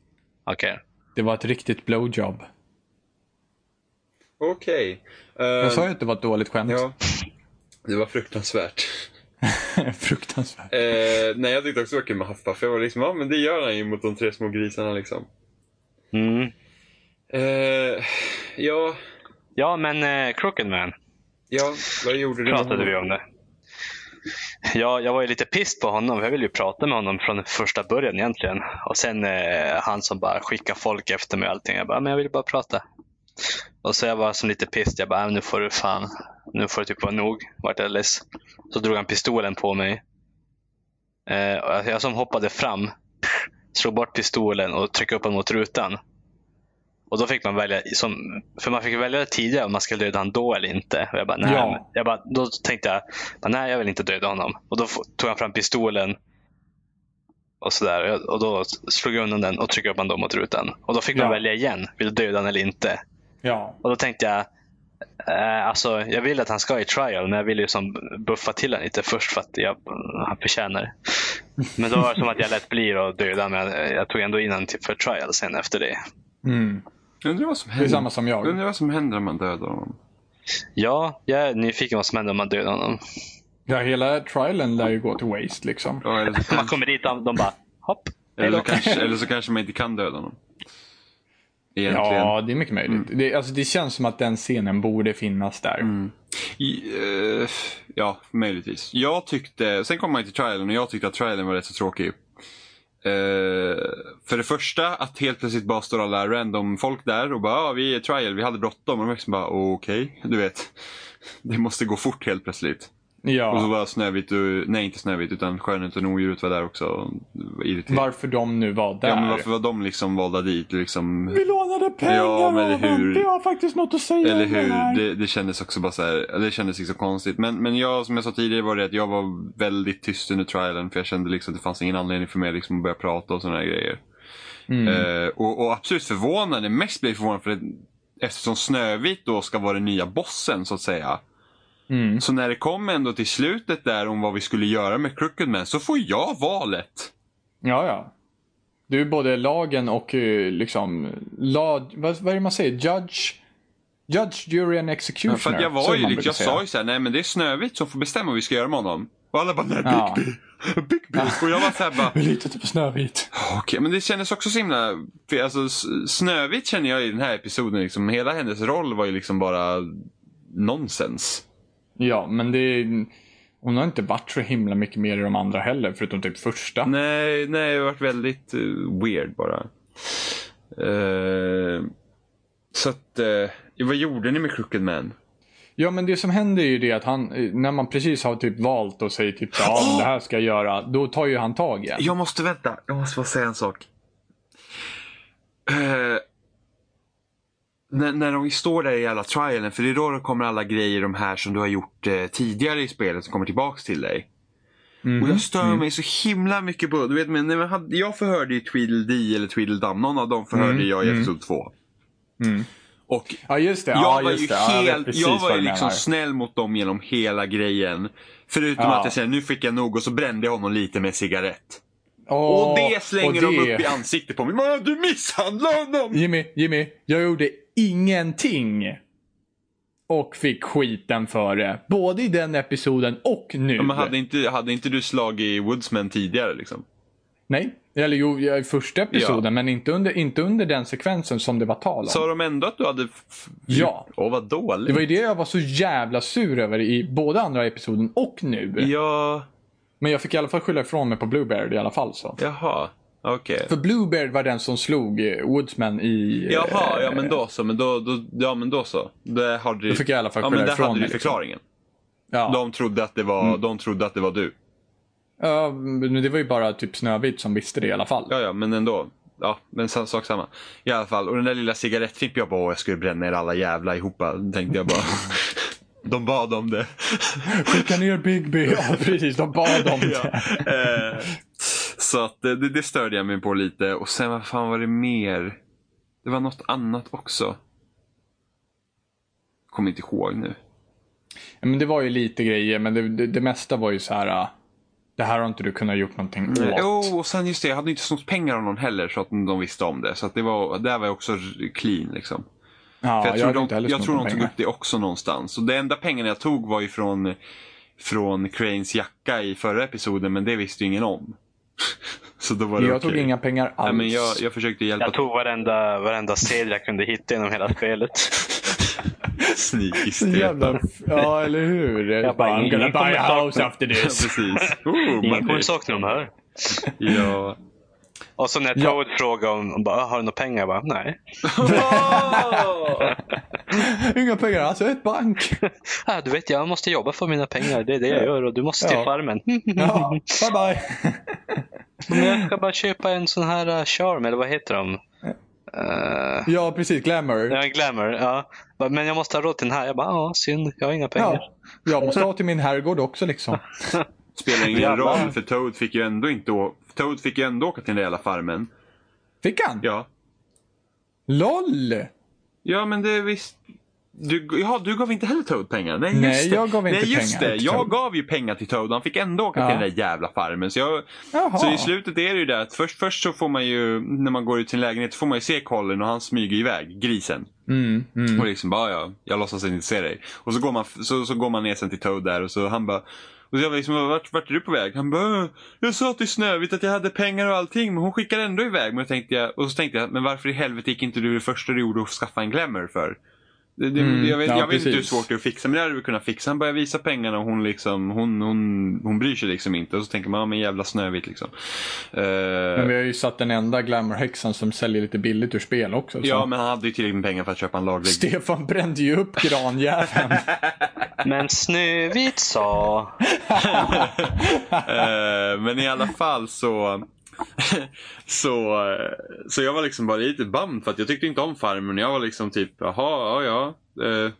Okej. Det var ett riktigt blowjob. Okej. Ehm, Jag sa ju att det var ett dåligt skämt. Ja. Det var fruktansvärt. Fruktansvärt. Eh, nej, jag tyckte också det var kul med Huffpuff. Jag var liksom, ja men det gör han ju mot de tre små grisarna liksom. Mm. Eh, ja, Ja, men eh, Crooked Man ja, vad gjorde du? Mm. med pratade honom? vi om det. Ja, jag var ju lite pissed på honom. för Jag ville ju prata med honom från första början egentligen. Och sen eh, han som bara skickar folk efter mig och allting. Jag bara, men jag vill bara prata. Och så jag var som lite pissed. Jag bara, äh, nu får du fan, nu får du typ vara nog. Vart jag less. Så drog han pistolen på mig. Eh, och jag- jag som hoppade fram, slog bort pistolen och tryckte upp den mot rutan. Och då fick man välja, som, för man fick välja tidigare om man skulle döda han då eller inte. Och jag bara, nej. Ja. men- Jag bara, då tänkte jag, bara, nej jag vill inte döda honom. Och då f- tog han fram pistolen och sådär. Och jag- Och då slog jag undan den och tryckte upp den då mot rutan. Och då fick man Ja. välja igen, vill du döda honom eller inte? Ja. Och då tänkte jag, eh, alltså, jag vill att han ska i trial, men jag vill ju som buffa till honom lite först för att jag, han förtjänar det. Men då var det som att jag lät bli att döda men jag, jag tog ändå in honom typ för trial sen efter det. Mm. Undrar vad som Det är händer. samma som jag. Undrar vad som händer om man dödar honom. Ja, jag är nyfiken vad som händer om man dödar honom. Ja, hela trialen lär ju gå till waste liksom. Ja, eller, så Man kanske, kommer dit och de bara, hopp. eller, så kanske, eller så kanske man inte kan döda honom. Egentligen. Ja, det är mycket möjligt. Mm. Det, alltså, det känns som att den scenen borde finnas där. I, eh, ja, möjligtvis. Jag tyckte, sen kom man ju till trialen och jag tyckte att trialen var rätt så tråkig. Eh, för det första att helt plötsligt bara står alla random folk där och bara ah, vi är i trial, vi hade bråttom. Och de liksom bara okej, du vet. Det måste gå fort helt plötsligt. Och så Ja, var Snövit och, nej inte Snövit utan Skönheten och odjuret var där också. Och det var irriterande. varför de nu var där. Ja, men varför var de liksom valda dit? Liksom, Vi lånade pengar Ja, men av hur- honom. Vi har faktiskt något att säga Eller om den här. hur? Det, det kändes också bara så här, det kändes liksom konstigt. Men, men jag, som jag sa tidigare var det att jag var väldigt tyst under trialen. För jag kände liksom att det fanns ingen anledning för mig liksom att börja prata och sådana här grejer. Mm, Eh, och, och absolut förvånande, mest blev jag förvånad för att eftersom Snövit då ska vara den nya bossen så att säga. Mm. Så när det kom ändå till slutet där om vad vi skulle göra med Crooked Man så får jag valet. Ja, ja. Du är både lagen och eh, liksom... Lag, vad, vad är det man säger? Judge? Judge, jury and executioner. För att jag Mm. som var ju man liksom, brukar jag säga. sa ju såhär, nej men det är Snövit som får bestämma vad vi ska göra med honom. Och alla bara, nej Ja. Bigby, Bigby. Och jag var såhär bara, Vi litar inte på Snövit. Okej, men det kändes också så himla... För alltså, S- Snövit känner jag i den här episoden, liksom, hela hennes roll var ju liksom bara nonsens. Ja, men det... är- Hon har inte varit så himla mycket mer i de andra heller, förutom typ första. Nej, nej, det har varit väldigt eh, weird bara. Eh, så att, eh, vad gjorde ni med Crooked Man? Ja, men det som händer är ju det att han, eh, när man precis har typ valt och säger typ ja, men det här ska jag göra. Då tar ju han tag i en. Jag måste vänta, jag måste bara säga en sak. Eh, när, när de står där i alla trialen, för det är då det kommer alla grejer de här som du har gjort eh, tidigare i spelet som kommer tillbaks till dig. Mm. Och Mhm. jag stör Mm. mig så himla mycket på, du vet men när man hade, jag förhörde ju Tweedledee eller Tweedledum, någon av dem förhörde jag i episod 2. Mm. Och Ja, just det. jag ja, var just ju det. Ja, jag, vet helt, precis jag, var vad ju du liksom menar. snäll mot dem genom hela grejen. Förutom Ja. att jag säger nu fick jag nog och så brände jag honom lite med cigarett. Åh, Och det slänger och de det- upp i ansiktet på mig. Men du misshandlade honom! Jimmy, Jimmy, jag gjorde ingenting. Och fick skiten för det. Både i den episoden och nu. Men hade inte, hade inte du slagit Woodsman tidigare liksom? Nej, eller jo, jag- i första episoden. Ja. Men inte under, inte under den sekvensen som det var tal om. Sa de ändå att du hade... f- Ja. Åh vad dåligt. Det var ju det jag var så jävla sur över i både andra episoden och nu. Ja, Men jag fick i alla fall skylla ifrån mig på Bluebeard i alla fall. Så. jaha. Okej. För Bluebeard var den som slog eh, Woodsman i... eh, Jaha, ja men då så. Men då, då, ja men då så. Det hade du... Då fick jag i alla fall ja, skylla men där ifrån hade du mig, liksom. förklaringen. Ja. Mm. De, trodde att det var, de trodde att det var du. Ja, men det var ju bara typ Snövit som visste det i alla fall. Ja, ja, men ändå. Ja, men sa- sak samma. I alla fall. Och den där lilla cigarettfimpen, jag bara åh, jag skulle bränna er alla jävla ihopa. Tänkte jag bara. de bad om det. Skicka ner Bigby. Ja, precis. De bad om Ja. det. Eh, så att eh, det, det störde jag mig på lite. Och sen vad fan var det mer? Det var något annat också. Kommer inte ihåg nu. Ja, Men det var ju lite grejer, men det, det, det mesta var ju så här. ah, Det här har inte du kunnat gjort någonting åt. Mm. Jo, och sen just det, jag hade inte snott pengar av någon heller så att de visste om det. Så att det var, där var jag också r- clean liksom. ja, För jag, tror hade de, inte heller jag snott tror några de tog pengar. upp det också någonstans. Så det enda pengarna jag tog var ju från från Cranes jacka i förra episoden, men det visste ju ingen om. Så då var det Jag okej. tog inga pengar alls. Nej, men jag, jag försökte hjälpa Jag tog varenda, varenda sedel jag kunde hitta inom hela spelet. Så Sneaky-streta. jävla... Ja, eller hur? Jag bara, I'm gonna ingen kommer buy a sakna- house after this. Precis. Oh, Ingen Maddie. kommer sakna dem här. Ja. Och så när Ja. Toad frågade om, om bara, har du några pengar? Jag bara, nej. Inga pengar alls, jag är ett bank. Ah, du vet, jag måste jobba för mina pengar. Det är det jag gör och du måste till Ja. farmen. Hm. Ja, bye bye. Men jag ska bara köpa en sån här uh, charm, eller vad heter de? Uh, Ja, precis. Glamour. ja, en glamour. Ja. Bara, Men jag måste ha råd till den här. Jag bara, ja, synd. Jag har inga pengar. Ja, jag måste ha till min herrgård också liksom. Spelar ingen Jävlar. roll för Toad fick ju ändå inte å- Toad fick ju ändå åka till den där jävla farmen. Fick han? Ja. LOL! Ja men det visst. Du, ja, du gav inte heller Toad pengar. Nej, Nej, just det. jag gav inte Nej, just pengar det. till Jag Toad. gav ju pengar till Toad. Han fick ändå åka Ja. till den där jävla farmen. Så, jag, Jaha. så i slutet är det ju det att först, först så får man ju, när man går ut sin lägenhet, så får man ju se Colin och han smyger iväg, grisen. Mm, mm. Och liksom bara, ja, jag låtsas inte se dig. Och så går man, så, så går man ner sen till Toad där och så han bara och jag var liksom, vart, vart är du på väg? Han bara, "Äh, jag sa till Snövit att jag hade pengar och allting men hon skickade ändå iväg mig. Och, tänkte jag, och så tänkte jag, men varför i helvete gick inte du det första du gjorde och skaffa en glamour för? Det, det, Mm, jag vet, ja, jag vet inte hur precis. svårt det är att fixa men det hade vi kunnat fixa. Han börjar visa pengarna och hon, liksom, hon, hon, hon bryr sig liksom inte. Och så tänker man, ja men jävla Snövit liksom. Eh, Men vi har ju satt den enda glamourhäxan som säljer lite billigt ur spel också. Så. ja men han hade ju tillräckligt med pengar för att köpa en laglig Stefan brände ju upp granjäveln. Men Snövit sa... Eh, men i alla fall så... så, eh, så jag var liksom bara lite bummed för att jag tyckte inte om farmen. Jag var liksom typ, jaha, ja ja. eh,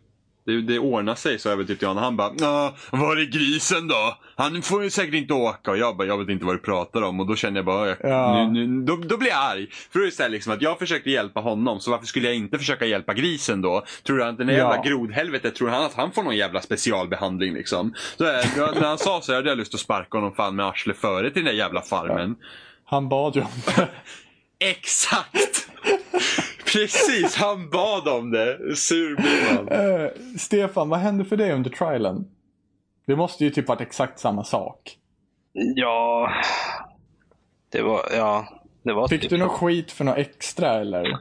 Det, det ordnar sig så övertyckte jag honom. Han bara, "Nå, var är grisen då? Han får ju säkert inte åka. Och jag bara, jag vet inte vad du pratar om. Och då kände jag bara, jag, Ja. nu, nu, då, då blir jag arg. För då är det så här liksom att jag försökte hjälpa honom. Så varför skulle jag inte försöka hjälpa grisen då? Tror du att den där Ja. jävla grodhelvetet, tror han att han får någon jävla specialbehandling liksom? Så, eh, jag- när han sa så hade jag lust att sparka honom fan med arslet före till den där jävla farmen. Han bad ju om det. Exakt! Precis, han bad om det. Sur blir man. Eh, Stefan, vad hände för dig under trialen? Det måste ju typ varit exakt samma sak. Ja... Det var... Ja. Det var typ- Fick du någon skit för något extra eller?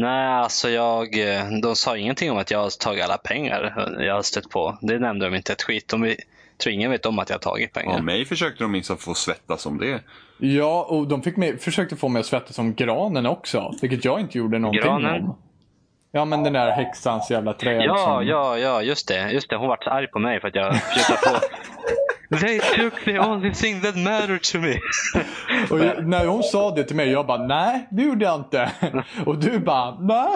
Nej, alltså jag... eh, De sa ingenting om att jag har tagit alla pengar eh, jag har stött på. Det nämnde de inte ett skit om. Jag tror ingen vet om att jag har tagit pengar. Ja, mig försökte de minst få svettas om det. Ja, och de fick mig, försökte få mig att svettas om granen också. Vilket jag inte gjorde någonting Granen? om. Ja, men den där häxans jävla träd Ja, som... ja, ja, just det. Just det. Hon vart så arg på mig för att jag försökte få... They took the only thing that mattered to me. Och jag, när hon sa det till mig, jag bara nej, det gjorde jag inte. Och du bara nej.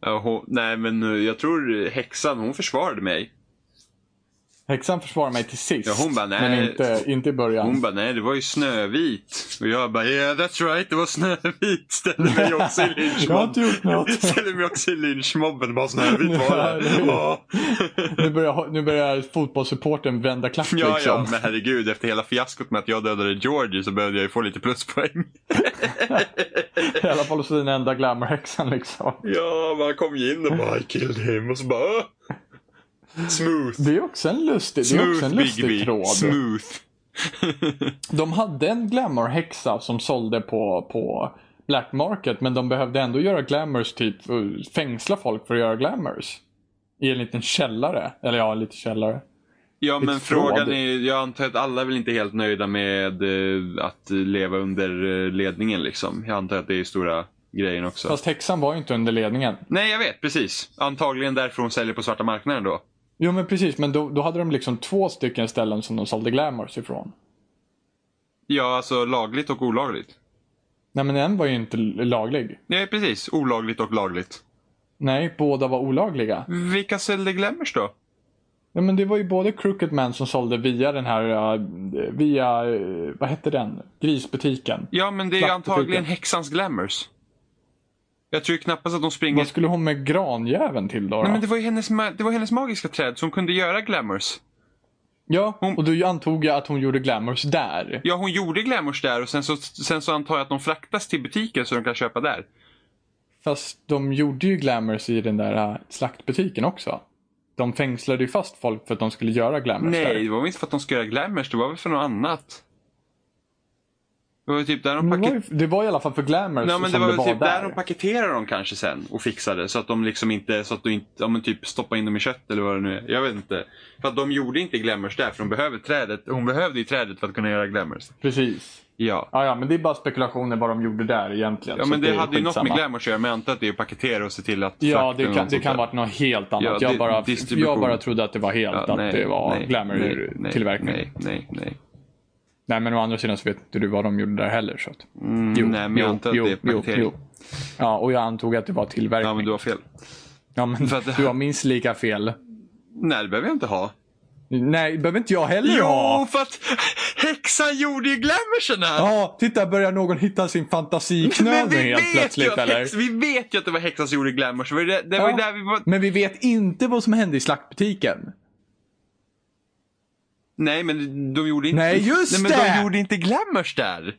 Ja, hon, nej, men eh, jag tror häxan, hon försvarade mig. Häxan försvarade mig till sist. Ja, hon bara, nej. Men inte, inte i början. Hon bara, nej det var ju Snövit. Och jag bara, yeah that's right, det var Snövit. Ställer mig också i jag har inte lynchmobben. gjort något. Ställer mig också i lynchmobben. Bara Snövit var Ja, eller det. hur? Ja, Nu börjar, nu börjar fotbollssupporten vända klack ja, ja, liksom. men herregud. Efter hela fiaskot med att jag dödade Georgie så behövde jag ju få lite pluspoäng. I alla fall hos den enda glamourhäxan liksom. Ja, man kom ju in och bara, I killed him. Och så bara, "Åh." Smooth. Det är också en lustig, det är också en Smooth lustig Bigby. tråd. Smooth. De hade en glamourhäxa som sålde på, på Black Market men de behövde ändå göra glamours, typ eh, fängsla folk för att göra glamours. I en liten källare. Eller ja, en liten källare. Ja, men Ett tråd. frågan är Jag antar att alla är väl inte helt nöjda med eh, att leva under eh, ledningen liksom. Jag antar att det är stora grejen också. Fast häxan var ju inte under ledningen. Nej, jag vet. Precis. Antagligen därför hon säljer på svarta marknaden då. Jo men precis, men då, då hade de liksom två stycken ställen som de sålde glamours ifrån. Ja, alltså lagligt och olagligt. Nej men en var ju inte l- laglig. Nej, precis. Olagligt och lagligt. Nej, båda var olagliga. Vilka säljer Glammers då? Ja, men det var ju både Crooked Man som sålde via den här, eh, via, eh, vad hette den? Grisbutiken. Ja, men det är ju Slaktbutiken. antagligen häxans Glammers. Jag tror ju knappast att de springer... Vad skulle hon med granjäveln till då? då? Nej, men det var ju hennes, ma- det var hennes magiska träd som kunde göra Glammers. Ja, Hon- och då antog jag att hon gjorde glamours där. Ja, hon gjorde Glammers där och sen så, sen så antar jag att de fraktas till butiken så de kan köpa där. Fast de gjorde ju glamours i den där eh, äh, slaktbutiken också. de fängslade ju fast folk för att de skulle göra Glamours Nej, där. det var väl inte för att de skulle göra glammers, det var väl för något annat. Det var ju typ där de Men Det var, paketerade ju, det var i alla fall för Glamours Nej, men det som var det väl var typ där där. de paketerade dem kanske sen och fixade så att de liksom inte, så att du inte, ja men typ stoppa in dem i kött eller vad det nu är. Jag vet inte. För att de gjorde inte glamours där för de behöver trädet, hon behövde ju trädet för att kunna göra glamours. Precis. Ja. Ja, ja, men det är bara spekulationer vad de gjorde där egentligen. Ja så men det, hade ju något skitsamma. med glamours att göra men jag antar att det är att paketera och se till att Ja, frakten det och kan, något det sånt kan där. varit något helt annat. Ja, jag, di- bara, distribution. jag bara trodde att det var helt, Ja, att det var glamour-tillverkning. Nej, Nej, nej, nej. men å andra sidan så vet inte du vad de gjorde där heller. Så att, Mm, nej, men jag antar att det är paketering. Ja, och jag antog att det var tillverkning. Ja, men du har fel. Ja, men För att- du har minst lika fel. Nej, det behöver jag inte ha. Nej, behöver inte jag heller Jo, ha. för att häxan gjorde ju glamoursen här! Ja, titta börjar någon hitta sin fantasiknöd nu helt ju plötsligt att eller? Häx, vi vet ju att det var häxan som gjorde glamour. Så det, det var Ja. ju där vi var... Men vi vet inte vad som hände i slaktbutiken. Nej, men de gjorde inte... Nej, just Nej, men det! de gjorde inte glamours där.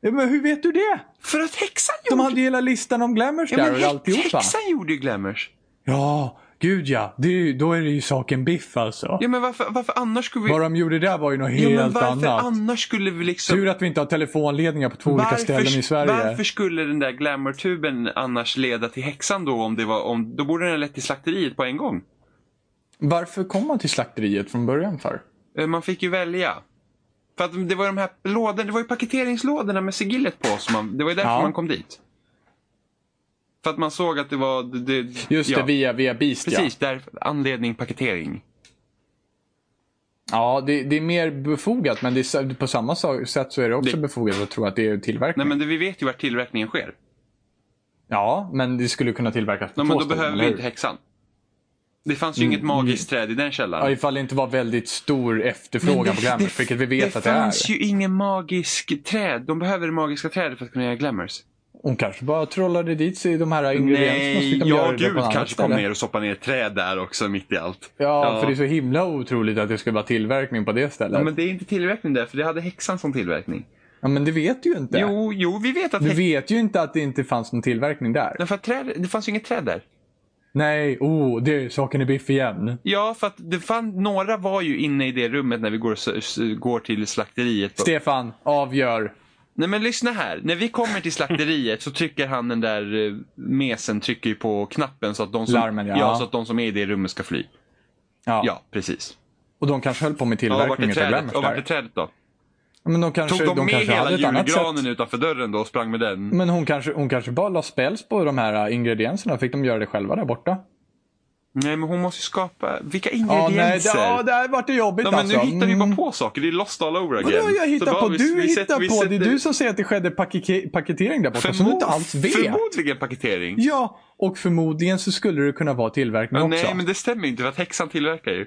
Ja, Men hur vet du det? För att häxan De gjorde... hade ju hela listan om glamours ja, där men och häx- alltihopa. häxan gjorde ju glamours. Ja, gud ja. Det är ju, då är det ju saken biff alltså. Ja, men varför, varför annars skulle vi... Vad de gjorde där var ju något ja, men helt varför annat. annars skulle vi liksom... Tur att vi inte har telefonledningar på två olika Varför- ställen i Sverige. Varför skulle den där glamourtuben annars leda till häxan då? Om det var, om, då borde den ha lett till slakteriet på en gång. Varför kom man till slakteriet från början för? Eh, Man fick ju välja. För att det var ju de här lådorna, det var ju paketeringslådorna med sigillet på. Som man, det var ju därför Ja. man kom dit. För att man såg att det var... Det, det, Just det, via, via Beast Precis, därför, anledning paketering. ja. Ja, det, det är mer befogat men det är, sa- på samma sa- sätt så är det också Det- befogat att tro att det är tillverkning. Nej men det, vi vet ju var tillverkningen sker. Ja, men det skulle kunna tillverkas på Ja, två men då ställen, behöver eller vi hur? inte häxan. Det fanns ju inget magiskt träd i den källan. Mm, Ja, ifall det inte var väldigt stor efterfrågan på Glamour, vilket vi vet att det är. fanns ju ingen magisk träd. De behöver det magiska trädet för att kunna göra glamours. Hon kanske bara trollade dit sig de här ingredienserna så Nej, fick de ja göra det på gud något annat kanske kom ställe. ner och stoppade ner ett träd där också mitt i allt. Ja, för det är så himla otroligt att det ska vara tillverkning på det stället. Ja, men det är inte tillverkning där, för det hade häxan som tillverkning. det vet du ju inte. Jo, jo, vi vet att Du häxan... vet ju inte att det inte fanns någon tillverkning där. För att träd, det fanns ju inget träd där. Nej, oh, det är saken är biff igen. Ja, för att det fann, några var ju inne i det rummet när vi går, s- s- går till slakteriet. Stefan, avgör. Nej men lyssna här. När vi kommer till slakteriet så trycker han den där eh, mesen trycker ju på knappen så att de som, Larmen, ja. så att de som är i det rummet ska fly. Ja. Ja, precis. Och de kanske höll på med Ja, vart tillverkning är utav trädet? Glamour Och vart är där. trädet då? Men de kanske, Tog de, med kanske hela hade ett annat julgranen sätt. utanför dörren då och sprang med den? Men hon kanske, hon kanske bara la spells på de här äh, ingredienserna. Fick de göra det själva där borta? Nej men hon måste ju skapa, vilka Ja, nej, det, ingredienser? ja, där vart det jobbigt Nej, men alltså. nu hittar vi bara Mm. på saker, det är lost all over again. Vadå jag Så hittar bara, på? vi- Du vi hittar sätter- vi på. det sätter- är du som säger att det skedde pakike- paketering där borta som du inte alls vet. Förmodligen paketering. Ja, och förmodligen så skulle det kunna vara tillverkning Men också. nej men det stämmer ju inte för att häxan tillverkar ju.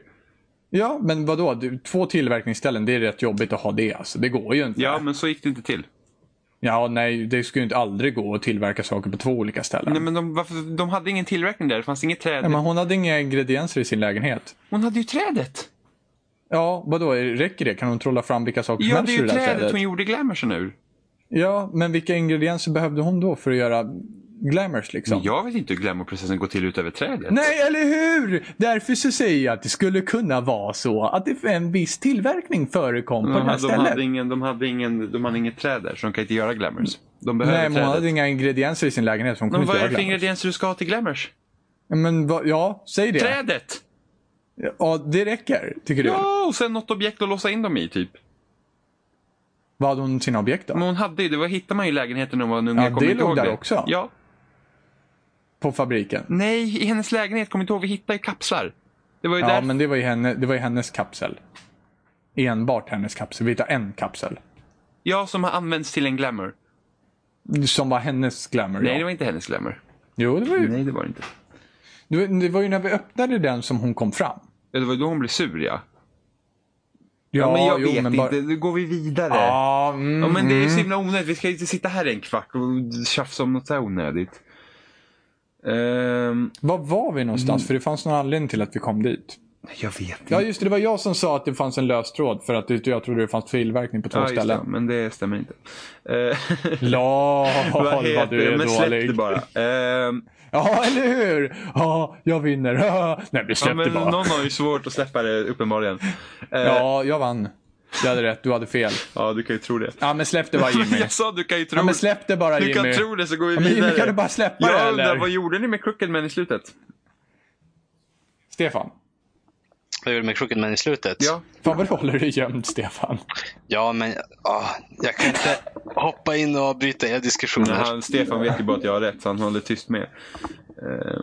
Ja, men vadå? Du, två tillverkningsställen, det är rätt jobbigt att ha det alltså. Det går ju inte. Ja men så gick det inte till. Ja, nej, det skulle ju inte aldrig gå att tillverka saker på två olika ställen. Nej Nej, men de, varför, de hade ingen tillverkning där, det fanns inget träd. men... hon hade inga ingredienser i sin lägenhet. Hon hade ju trädet. Ja, vadå? Räcker det? Kan hon trolla fram vilka saker som Ja, helst det är ur ju det där trädet hon trädet? gjorde glamoursen ur. Ja, men vilka ingredienser behövde hon då för att göra glamours liksom? Jag vet inte hur glamourprocessen går till utöver trädet. Nej, eller hur? Därför så säger jag att det skulle kunna vara så att det en viss tillverkning förekom på de, det här hade, de, hade stället. ingen, de, hade ingen, de hade inget träd där, så de kan inte göra glamours. De behöver Nej, men hon trädet. hade inga ingredienser i sin lägenhet så hon kunde Men inte vad är göra det för glamours. ingredienser du ska ha till glamours? Men vad- ja, säg det. Trädet! Ja, det räcker, tycker du? Ja, och sen något objekt att låsa in dem i typ. Vad hade hon sina objekt då? Men hon hade ju, det var, hittade man ju i lägenheten när hon var en unge. Ja, jag kommer det inte låg ihåg där också. Ja. På fabriken? Nej, i hennes lägenhet, kommer inte ihåg, vi hittade ju kapslar. Det var ju Ja, där. men det var, ju henne, det var ju hennes kapsel. Enbart hennes kapsel. Vi hittade en kapsel. Jag som har använts till en glamour. Som var hennes glamour. Nej, ja. det var inte hennes glamour. Jo, det var, ju, Nej, det var det inte. det var- det var ju när vi öppnade den som hon kom fram. Ja, det var då hon blev sur ja. Ja, men jag vet bara- inte. Nu går vi vidare. Ja, mm, Ja, men det är ju så himla onödigt. Vi ska ju inte sitta här en kvart och tjafsa om något så här onödigt. Ehm, Var var vi någonstans? För det fanns någon anledning till att vi kom dit. Jag vet inte. Mm. Ja, just det. Det var jag som sa att det fanns en lös tråd för att det- jag trodde det fanns tillverkning på två Ja, just ställen. det, men det stämmer inte. Eh, La, vad heter du det? är Men släpp det dålig. bara. Eh, Ja, eller hur? Ja, jag vinner. Nej, vi ja, släppte men bara. någon har ju svårt att släppa det uppenbarligen. Eh, ja. Ja, jag vann. Jag hade rätt, du hade fel. du kan ju tro det. Ja, men släpp det bara Jimmy. Jag sa du kan ju tro Ja, men släpp det bara Du Jimmy. kan tro det så går vi Ja, men vidare. Jimmy, kan du bara släppa det jag undrar, eller? vad gjorde ni med Crookedman i slutet? Stefan. Jag gjorde med Crooked Man i slutet. Ja. Fan vad du håller dig gömd Stefan. Ja, men ah, jag kan inte hoppa in och bryta era diskussioner. Han, Stefan vet ju bara att jag har rätt, så han håller tyst med. Eh,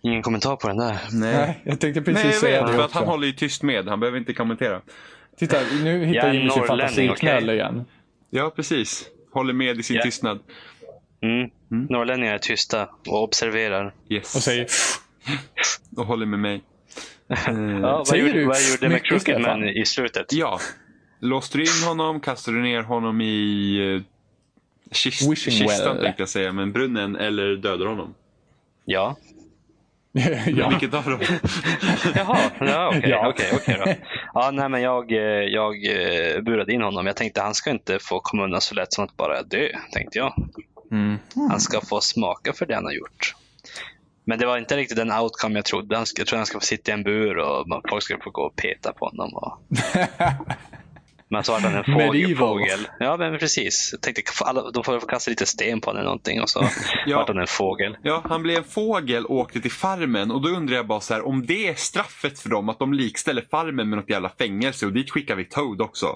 Ingen kommentar på den där. nej. Nej, jag tänkte Nej, precis jag säga vet. För det att också. han håller ju tyst med. Han behöver inte kommentera. Titta, nu Jag hittar är Jimmy sin norrlänning, fantasiknöl okej? igen. Ja, precis. Håller med i sin Ja. tystnad. Mm. Norrlänningar är tysta och observerar. Yes. Och säger och håller med mig. Eh, Ja, vad, Säger gjorde, du vad gjorde med mycket, Crooked Man Stefan? i slutet? ja. Låste du in honom? Kastade du ner honom i eh, kist, Wishing kistan well. tänkte jag säga, men brunnen eller dödade honom? Ja. ja. Vilket av dem? Jaha, ja, okej Ja. okej, okej då. Ja, nej, men jag, eh, jag eh, burade in honom. Jag tänkte han ska inte få komma undan så lätt som att bara dö, tänkte jag. Han ska få smaka för det han har gjort. Men det var inte riktigt den outcome jag trodde. Han ska- Jag trodde han skulle få sitta i en bur och man- folk skulle få gå och peta på honom. Och... Men så var han en fågel. Medieval. fågel. Ja, men precis. Jag tänkte, alla, de får väl få kasta lite sten på honom eller någonting och så Ja. vart han en fågel. Ja, han blev en fågel och åkte till farmen och då undrar jag bara så här, om det är straffet för dem att de likställer farmen med något jävla fängelse och dit skickar vi Toad också.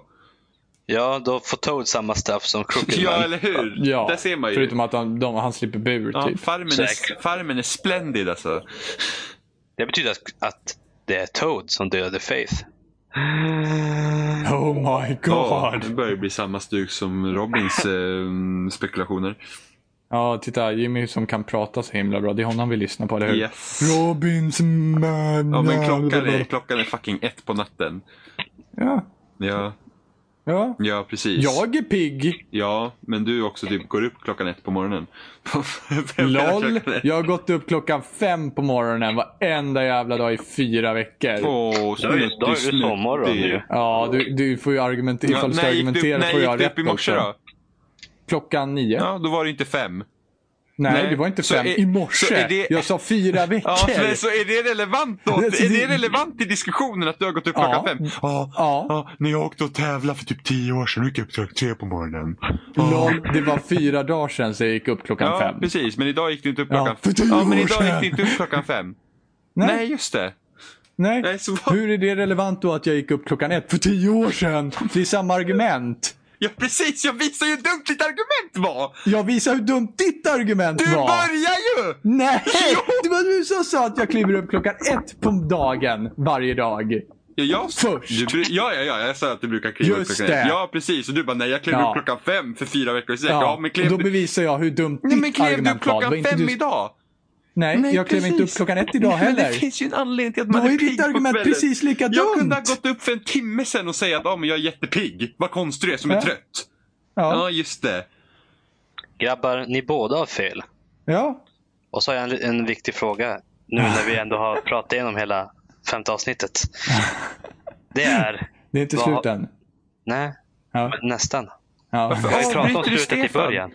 Ja, då får Toad samma straff som Crooked Ja, Man. eller hur? ja. Där ser man ju. Förutom att han, de, han slipper bur ja, typ. farmen, är, Säkert. farmen är splendid alltså. Det betyder att, att det är Toad som dödade Faith. Oh my Ja, god. det börjar bli samma stuk som Robins eh, spekulationer. Ja, titta. Jimmy som kan prata så himla bra. Det är honom vi lyssnar på, eller hur? Yes. Robins man. Ja, men klockan är, klockan är fucking ett på natten. Ja. Ja, ja. ja precis. Jag är pigg. Ja, men du också typ går upp klockan ett på morgonen. Vem är LOL. klockan ett? Jag har gått upp klockan fem på morgonen varenda jävla dag i fyra veckor. Åh, Då är det- då är det snutig, sommar då, snutig. nu. Ja, du, du får ju argumentera. Ja, ifall du ska när gick du, argumentera när får gick jag du rätt upp i också. morse då? Klockan nio. Ja, då var det inte fem. Nej, nej. det var inte Så fem. är- I så morse. är det- Jag sa fyra veckor. Ja, men så är det relevant då? Alltså, Är det det- relevant i diskussionen att du har gått upp Ja. klockan fem? Ja, Ja. när jag åkte och tävlade för typ tio år sedan, gick jag upp klockan tre på morgonen. LOL, det var fyra dagar sedan så jag gick upp klockan Ja, fem. precis. Men idag gick du inte upp Ja, klockan för tio Ja, år men idag gick sedan. du inte upp klockan fem. Nej, Nej. just det. Nej. Nej, så vad- Hur är det relevant då att jag gick upp klockan ett för tio år sedan? Det är samma argument. Ja, precis. Jag visar ju hur dumt ditt argument var. Jag visar hur dumt ditt argument Du var. börjar ju! Nej! Det var du som sa att jag kliver upp klockan ett på dagen varje dag. Ja, jag... Först. Du, bru- ja, ja, ja, jag sa att du brukar kliva upp Just klockan ett. det. Ja, precis. Och du bara, nej, jag klev Ja. upp klockan fem för fyra veckor sedan. Ja, men klev och då du- bevisar jag hur dumt Nej, ditt men klev du argument var. Det klockan var inte fem du... idag? Nej, Nej, jag klev inte upp precis. klockan ett idag Nej, men heller. Det finns ju en anledning till att man Då är är pigg ditt på argument kvällen. precis lika Jag kunde ha dumt. gått upp för en timme sedan och säga att ah, men jag är jättepigg. Vad konstig du är som är Ja. trött. Ja, Ja. just det. Grabbar, ni båda har fel. ja. Och så har jag en, en viktig fråga nu när vi ändå har pratat igenom hela femte avsnittet. Det är, Det är inte Vad- slut än. nej, Ja. nästan. Ja. Vi har ju pratat om Avbryter du slutet i Stefan? början.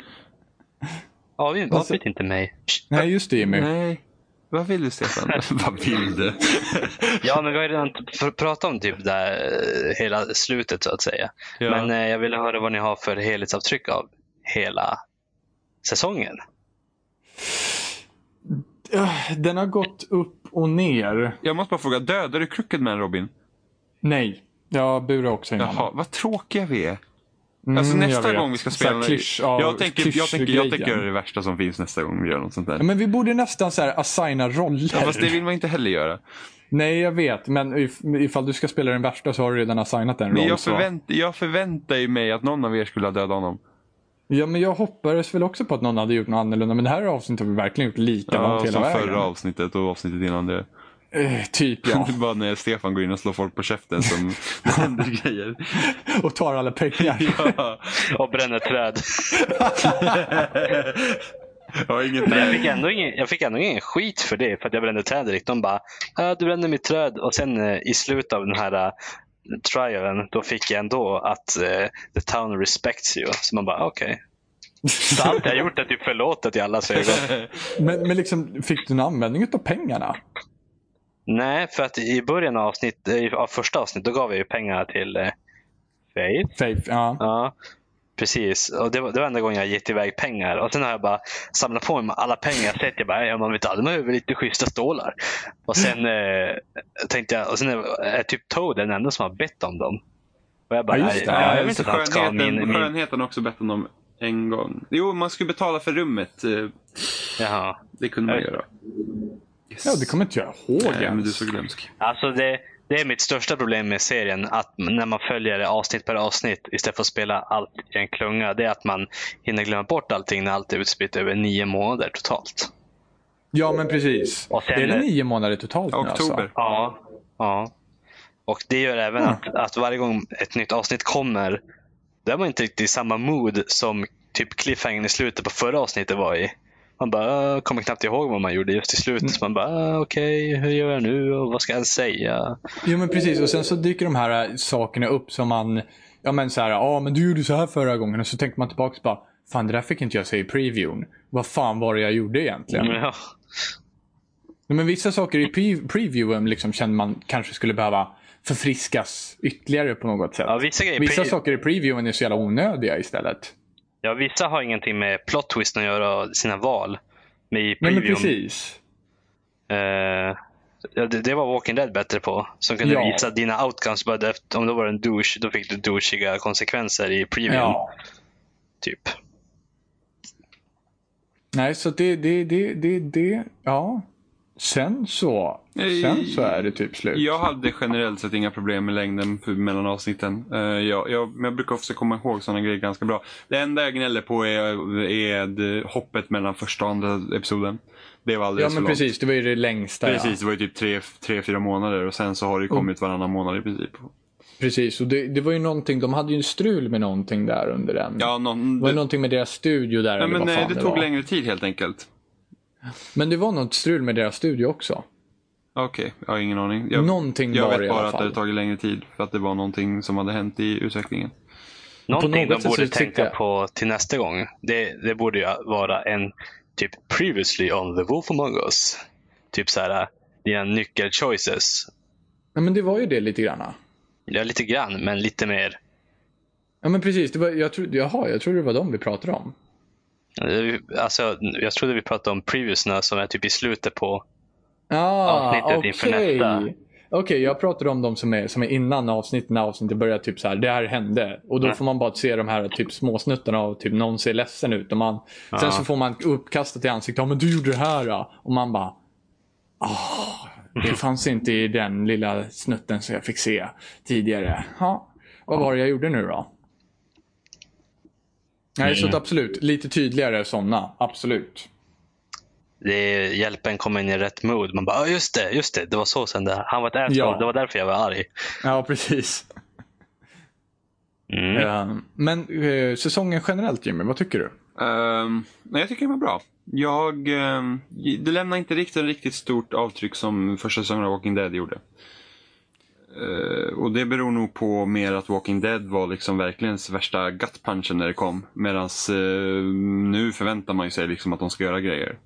Avbryt Alltså- avbryt inte mig. Nej, just det Jimmy. Nej. Vad vill du Stefan? Vad vill du? Ja, men vi har ju redan pr- pratat om typ där, eh, hela slutet så att säga. Ja. Men eh, jag ville höra vad ni har för helhetsavtryck av hela säsongen. Öh, Den har gått upp och ner. Jag måste bara fråga, dödar du Crooked Man Robin? Nej, jag burar också in honom. Jaha, vad tråkiga vi är. Mm, Alltså jag nästa vet. gång vi ska Så här spela... klysch av- jag, tänker, jag, tänker, jag tänker göra klyschgrejen. det värsta som finns nästa gång vi gör något sånt där. Ja, men vi borde nästan så här assigna roller. Ja, fast det vill man inte heller göra. Nej, jag vet. Men if- ifall du ska spela den värsta så har du redan assignat en Men roll. jag, så- förvänt, jag förväntar ju mig att någon av er skulle ha dödat honom. Ja, men jag hoppades väl också på att någon hade gjort något annorlunda. Men det här avsnittet har vi verkligen gjort likadant Ja, hela som vägen. förra avsnittet och avsnittet innan det. Eh, typ ja. Det är bara när Stefan går in och slår folk på käften som det händer grejer. Och tar alla pengar. Ja. Och bränner träd. Jag har inget Men jag fick, ändå ingen, jag fick ändå ingen skit för det, för att jag brände träd direkt. De bara, "Ja, du brände mitt träd. Och sen eh, i slutet av den här eh, trialen, då fick jag ändå att eh, the town respects you. Så man bara, okej. Så allt jag gjort är typ förlåtet i allas ögon. Men, men liksom, fick du en användning av pengarna? Nej, för att i början av, avsnitt, eh, i- av första avsnittet, då gav jag ju pengar till eh, Faith. Faith, ja. Ja, precis. Och det, var, det var enda gången jag gett iväg pengar. Och Sen har jag bara samlat på mig alla pengar jag sett. Jag bara, ja, man vet aldrig, man behöver lite schyssta stålar. Och sen eh, tänkte jag, och sen är, är typ Toad den enda som har bett om dem. Och jag bara, Ja, ja, just det. jag, Ja, vill inte att han ska ha skönheten, min... min skönheten har också bett om dem en gång. Jo, man skulle betala för rummet. eh, jaha. Det kunde man göra. Yes. Ja, det kommer inte jag ihåg Nej, men du är ens. så glömsk. Alltså det, det är mitt största problem med serien, att när man följer det avsnitt per avsnitt istället för att spela allt i en klunga, det är att man hinner glömma bort allting när allt är utspritt över nio månader totalt. Ja, men precis. Och sen- det är det nio månader totalt nu Oktober. alltså? Ja. ja. Och det gör även Mm. att, att varje gång ett nytt avsnitt kommer, då är man inte riktigt i samma mood som typ cliffhangern i slutet på förra avsnittet var i. Man bara "Äh, kommer knappt ihåg vad man gjorde just i slutet. Mm. Så man bara "Äh, okej, hur gör jag nu och vad ska jag säga? Jo, men precis. Och sen så dyker de här äh, sakerna upp som man... Ja, men så här, ja, men du gjorde så här förra gången. Och så tänker man tillbaka och bara, fan det där fick inte jag säga i previewn. Vad fan var det jag gjorde egentligen? Ja. Nej, Men vissa saker i pre- previewen liksom känner man kanske skulle behöva förfriskas ytterligare på något sätt. Ja, vissa grejer Vissa pre- saker i previewen är så jävla onödiga istället. Ja, vissa har ingenting med plot twisten att göra och sina val. Men i Nej, men previewn, precis. eh, ja, det, det var Walking Dead bättre på. Som kunde Ja. visa dina outcomes. Bara därefter- om du var en douche, då fick du douchiga konsekvenser i previewn. Ja. Typ. Nej, så det, det, det, det, det, ja. Sen så, sen så är det typ slut. Jag hade generellt sett inga problem med längden för mellan avsnitten. Eh, jag, jag, men jag brukar ofta komma ihåg sådana grejer ganska bra. Det enda jag gnäller på är, är det, hoppet mellan första och andra episoden. Det var ja, alldeles men för långt. precis. Det var ju det längsta. Ja. Mm. Precis, det var ju typ tre, tre, fyra månader och sen så har det ju kommit varannan månad i princip. precis. Och det, det var ju någonting, de hade ju en strul med någonting där under den. Ja, någon, Det var det, ju någonting med deras studio där. nej, eller men, vad eh, fan det det tog var. längre tid helt enkelt. Men det var något strul med deras studio också. Okej, jag har ingen aning. Jag, Någonting jag var det i vet alla bara att det fall. hade tagit längre tid för att det var någonting som hade hänt i utvecklingen. Någonting något de sätt borde så tyckte tänka jag- på till nästa gång, det, det borde ju vara en typ previously on the Wolf Among Us. Typ så här, dina nyckelchoices. Ja, men det var ju det lite granna. Ja, lite grann, men lite mer. Ja, men precis. Det var, jag tro, jaha, jag trodde det var de vi pratade om. Alltså, jag trodde vi pratade om previousna som är typ i slutet på Ah, Avsnittet okej. inför nästa. Okej, jag pratar om de som är, som är innan avsnitten. När avsnittet börjar typ så här, det här hände. Och då Mm. får man bara se de här typ småsnuttarna av typ någon ser ledsen ut. Och man, Sen så får man uppkastat i ansiktet, ja men du gjorde det här. ja." Och man bara, ah, det fanns inte i den lilla snutten som jag fick se tidigare. Ja, vad var det jag gjorde nu då? Nej, så att Mm. absolut. Lite tydligare sådana. Absolut. det hjälpen kommer in i rätt mood. Man bara, "Ja, just det, just det, det var så sen det. Han var ett asshole, Ja. det var därför jag var arg. Ja, precis. Mm. Eh, Men eh, säsongen generellt Jimmy, vad tycker du? Ehm, nej, jag tycker den var bra. Jag, ehm, det lämnar inte riktigt en riktigt stort avtryck som första säsongen av Walking Dead gjorde. Eh, och det beror nog på mer att Walking Dead var liksom verkligen värsta gut punchen när det kom. Medan nu förväntar man ju sig liksom att de ska göra grejer.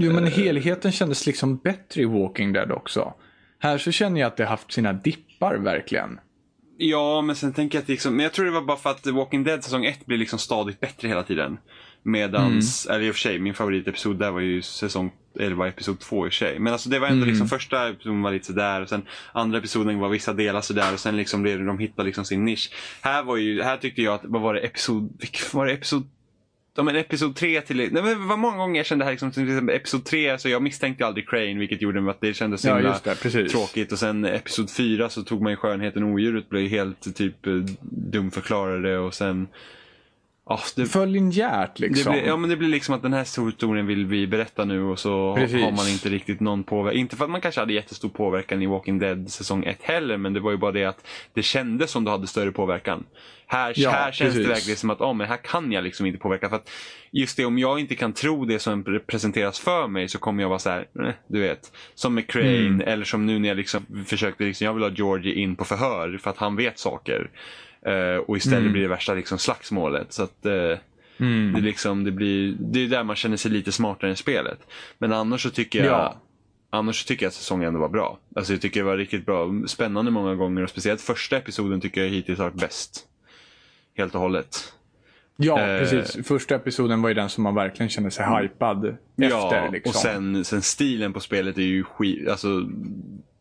Jo Eh. men helheten kändes liksom bättre i Walking Dead också. Här så känner jag att det haft sina dippar verkligen. Ja, men sen tänker jag att liksom, men jag tror det var bara för att Walking Dead säsong 1 blir liksom stadigt bättre hela tiden. Medans, Mm. eller i och för sig, min favoritepisod där var ju säsong, eller var episod 2 i och för sig. Men alltså det var ändå Mm. liksom första episoden var lite sådär och sen andra episoden var vissa delar sådär och sen liksom blev det, de hittade liksom sin nisch. Här var ju, här tyckte jag att, vad var det, episod, vilken- var det episod Ja men episod 3 till... Nej, men det var många gånger jag kände här liksom, till exempel episod 3, så jag misstänkte aldrig Crane vilket gjorde att det kändes så Ja, himla just det, precis. tråkigt. Och sen episod 4 så tog man ju skönheten och odjuret blev helt typ eh, dumförklarade och eh, sen... ah, det, För linjärt liksom. det blir, ja, men det blir liksom att den här historien vill vi berätta nu och så Precis. har man inte riktigt någon påverkan. Inte för att man kanske hade jättestor påverkan i Walking Dead säsong 1 heller, men det var ju bara det att det kändes som du hade större påverkan. Här, Ja, här känns precis. det verkligen som att ah, men här kan jag liksom inte påverka. För att just det, om jag inte kan tro det som pre- presenteras för mig så kommer jag vara så här, eh, du vet. Som med Crane, Mm. eller som nu när jag liksom försökte, liksom, jag vill ha Georgie in på förhör för att han vet saker. Eh, och istället blir det värsta liksom, slagsmålet. Så att, eh, Mm. det, liksom, det, blir, det är där man känner sig lite smartare i spelet. Men annars så tycker jag, Ja. annars så tycker jag att säsongen ändå var bra. Alltså jag tycker det var riktigt bra. Spännande många gånger och speciellt första episoden tycker jag hittills har varit bäst. Helt och hållet. Ja, Eh, precis. Första episoden var ju den som man verkligen kände sig hypad efter. ja, Liksom. och sen, sen stilen på spelet är ju skit... Alltså,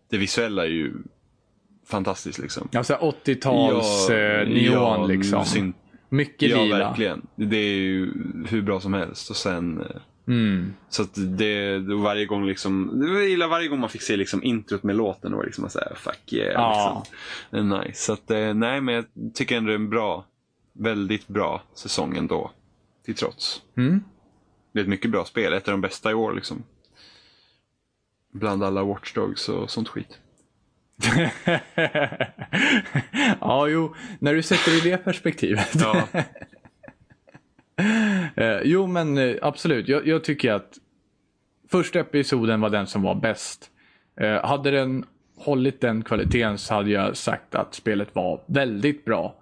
det visuella är ju fantastiskt liksom. Ja, så här 80-tals eh, neon liksom. syn- Mycket ja, lila. verkligen. Det är ju hur bra som helst. Och sen... eh, Mm. Så att det, det var varje gång liksom, det var- jag gillar varje gång man fick se liksom introt med låten och liksom såhär, fuck yeah. Ja. Liksom. Det är Nice. Så att, eh, nej men jag tycker ändå det är en bra, väldigt bra säsong ändå. Till trots. Mm. Det är ett mycket bra spel, ett av de bästa i år liksom. Bland alla Watch Dogs och sånt skit. ja, jo. När du sätter det i det perspektivet. Ja, Eh, jo, men eh, absolut. Jag, jag tycker att första episoden var den som var bäst. Eh, hade den hållit den kvaliteten så hade jag sagt att spelet var väldigt bra.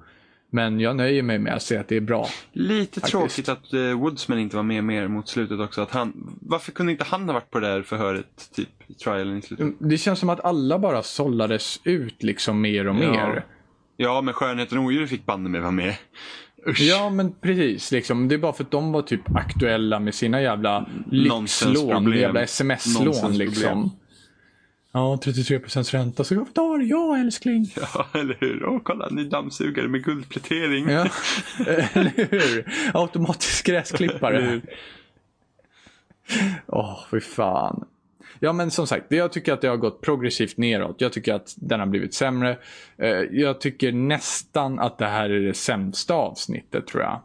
Men jag nöjer mig med att säga att det är bra. lite Faktiskt. tråkigt att eh, Woodsman inte var med mer mot slutet också. Att han, varför kunde inte han ha varit på det här förhöret, typ, i trialen i slutet? Det känns som att alla bara sållades ut liksom mer och Ja. mer. Ja, men Skönheten och Odjuret fick banne mig vara med. Usch. Ja, men precis. Liksom. Det är bara för att de var typ aktuella med sina jävla lyxlån. Nonsensproblem. Jävla sms-lån Nonsensproblem. liksom. Ja, 33 ränta. Så varför tar jag älskling? Ja, eller hur? Åh, kolla, ny dammsugare med guldplätering. Ja, eller hur? Automatisk gräsklippare. Åh, fy fan. Ja, men som sagt, jag tycker att det har gått progressivt neråt. Jag tycker att den har blivit sämre. Eh, Jag tycker nästan att det här är det sämsta avsnittet, tror jag.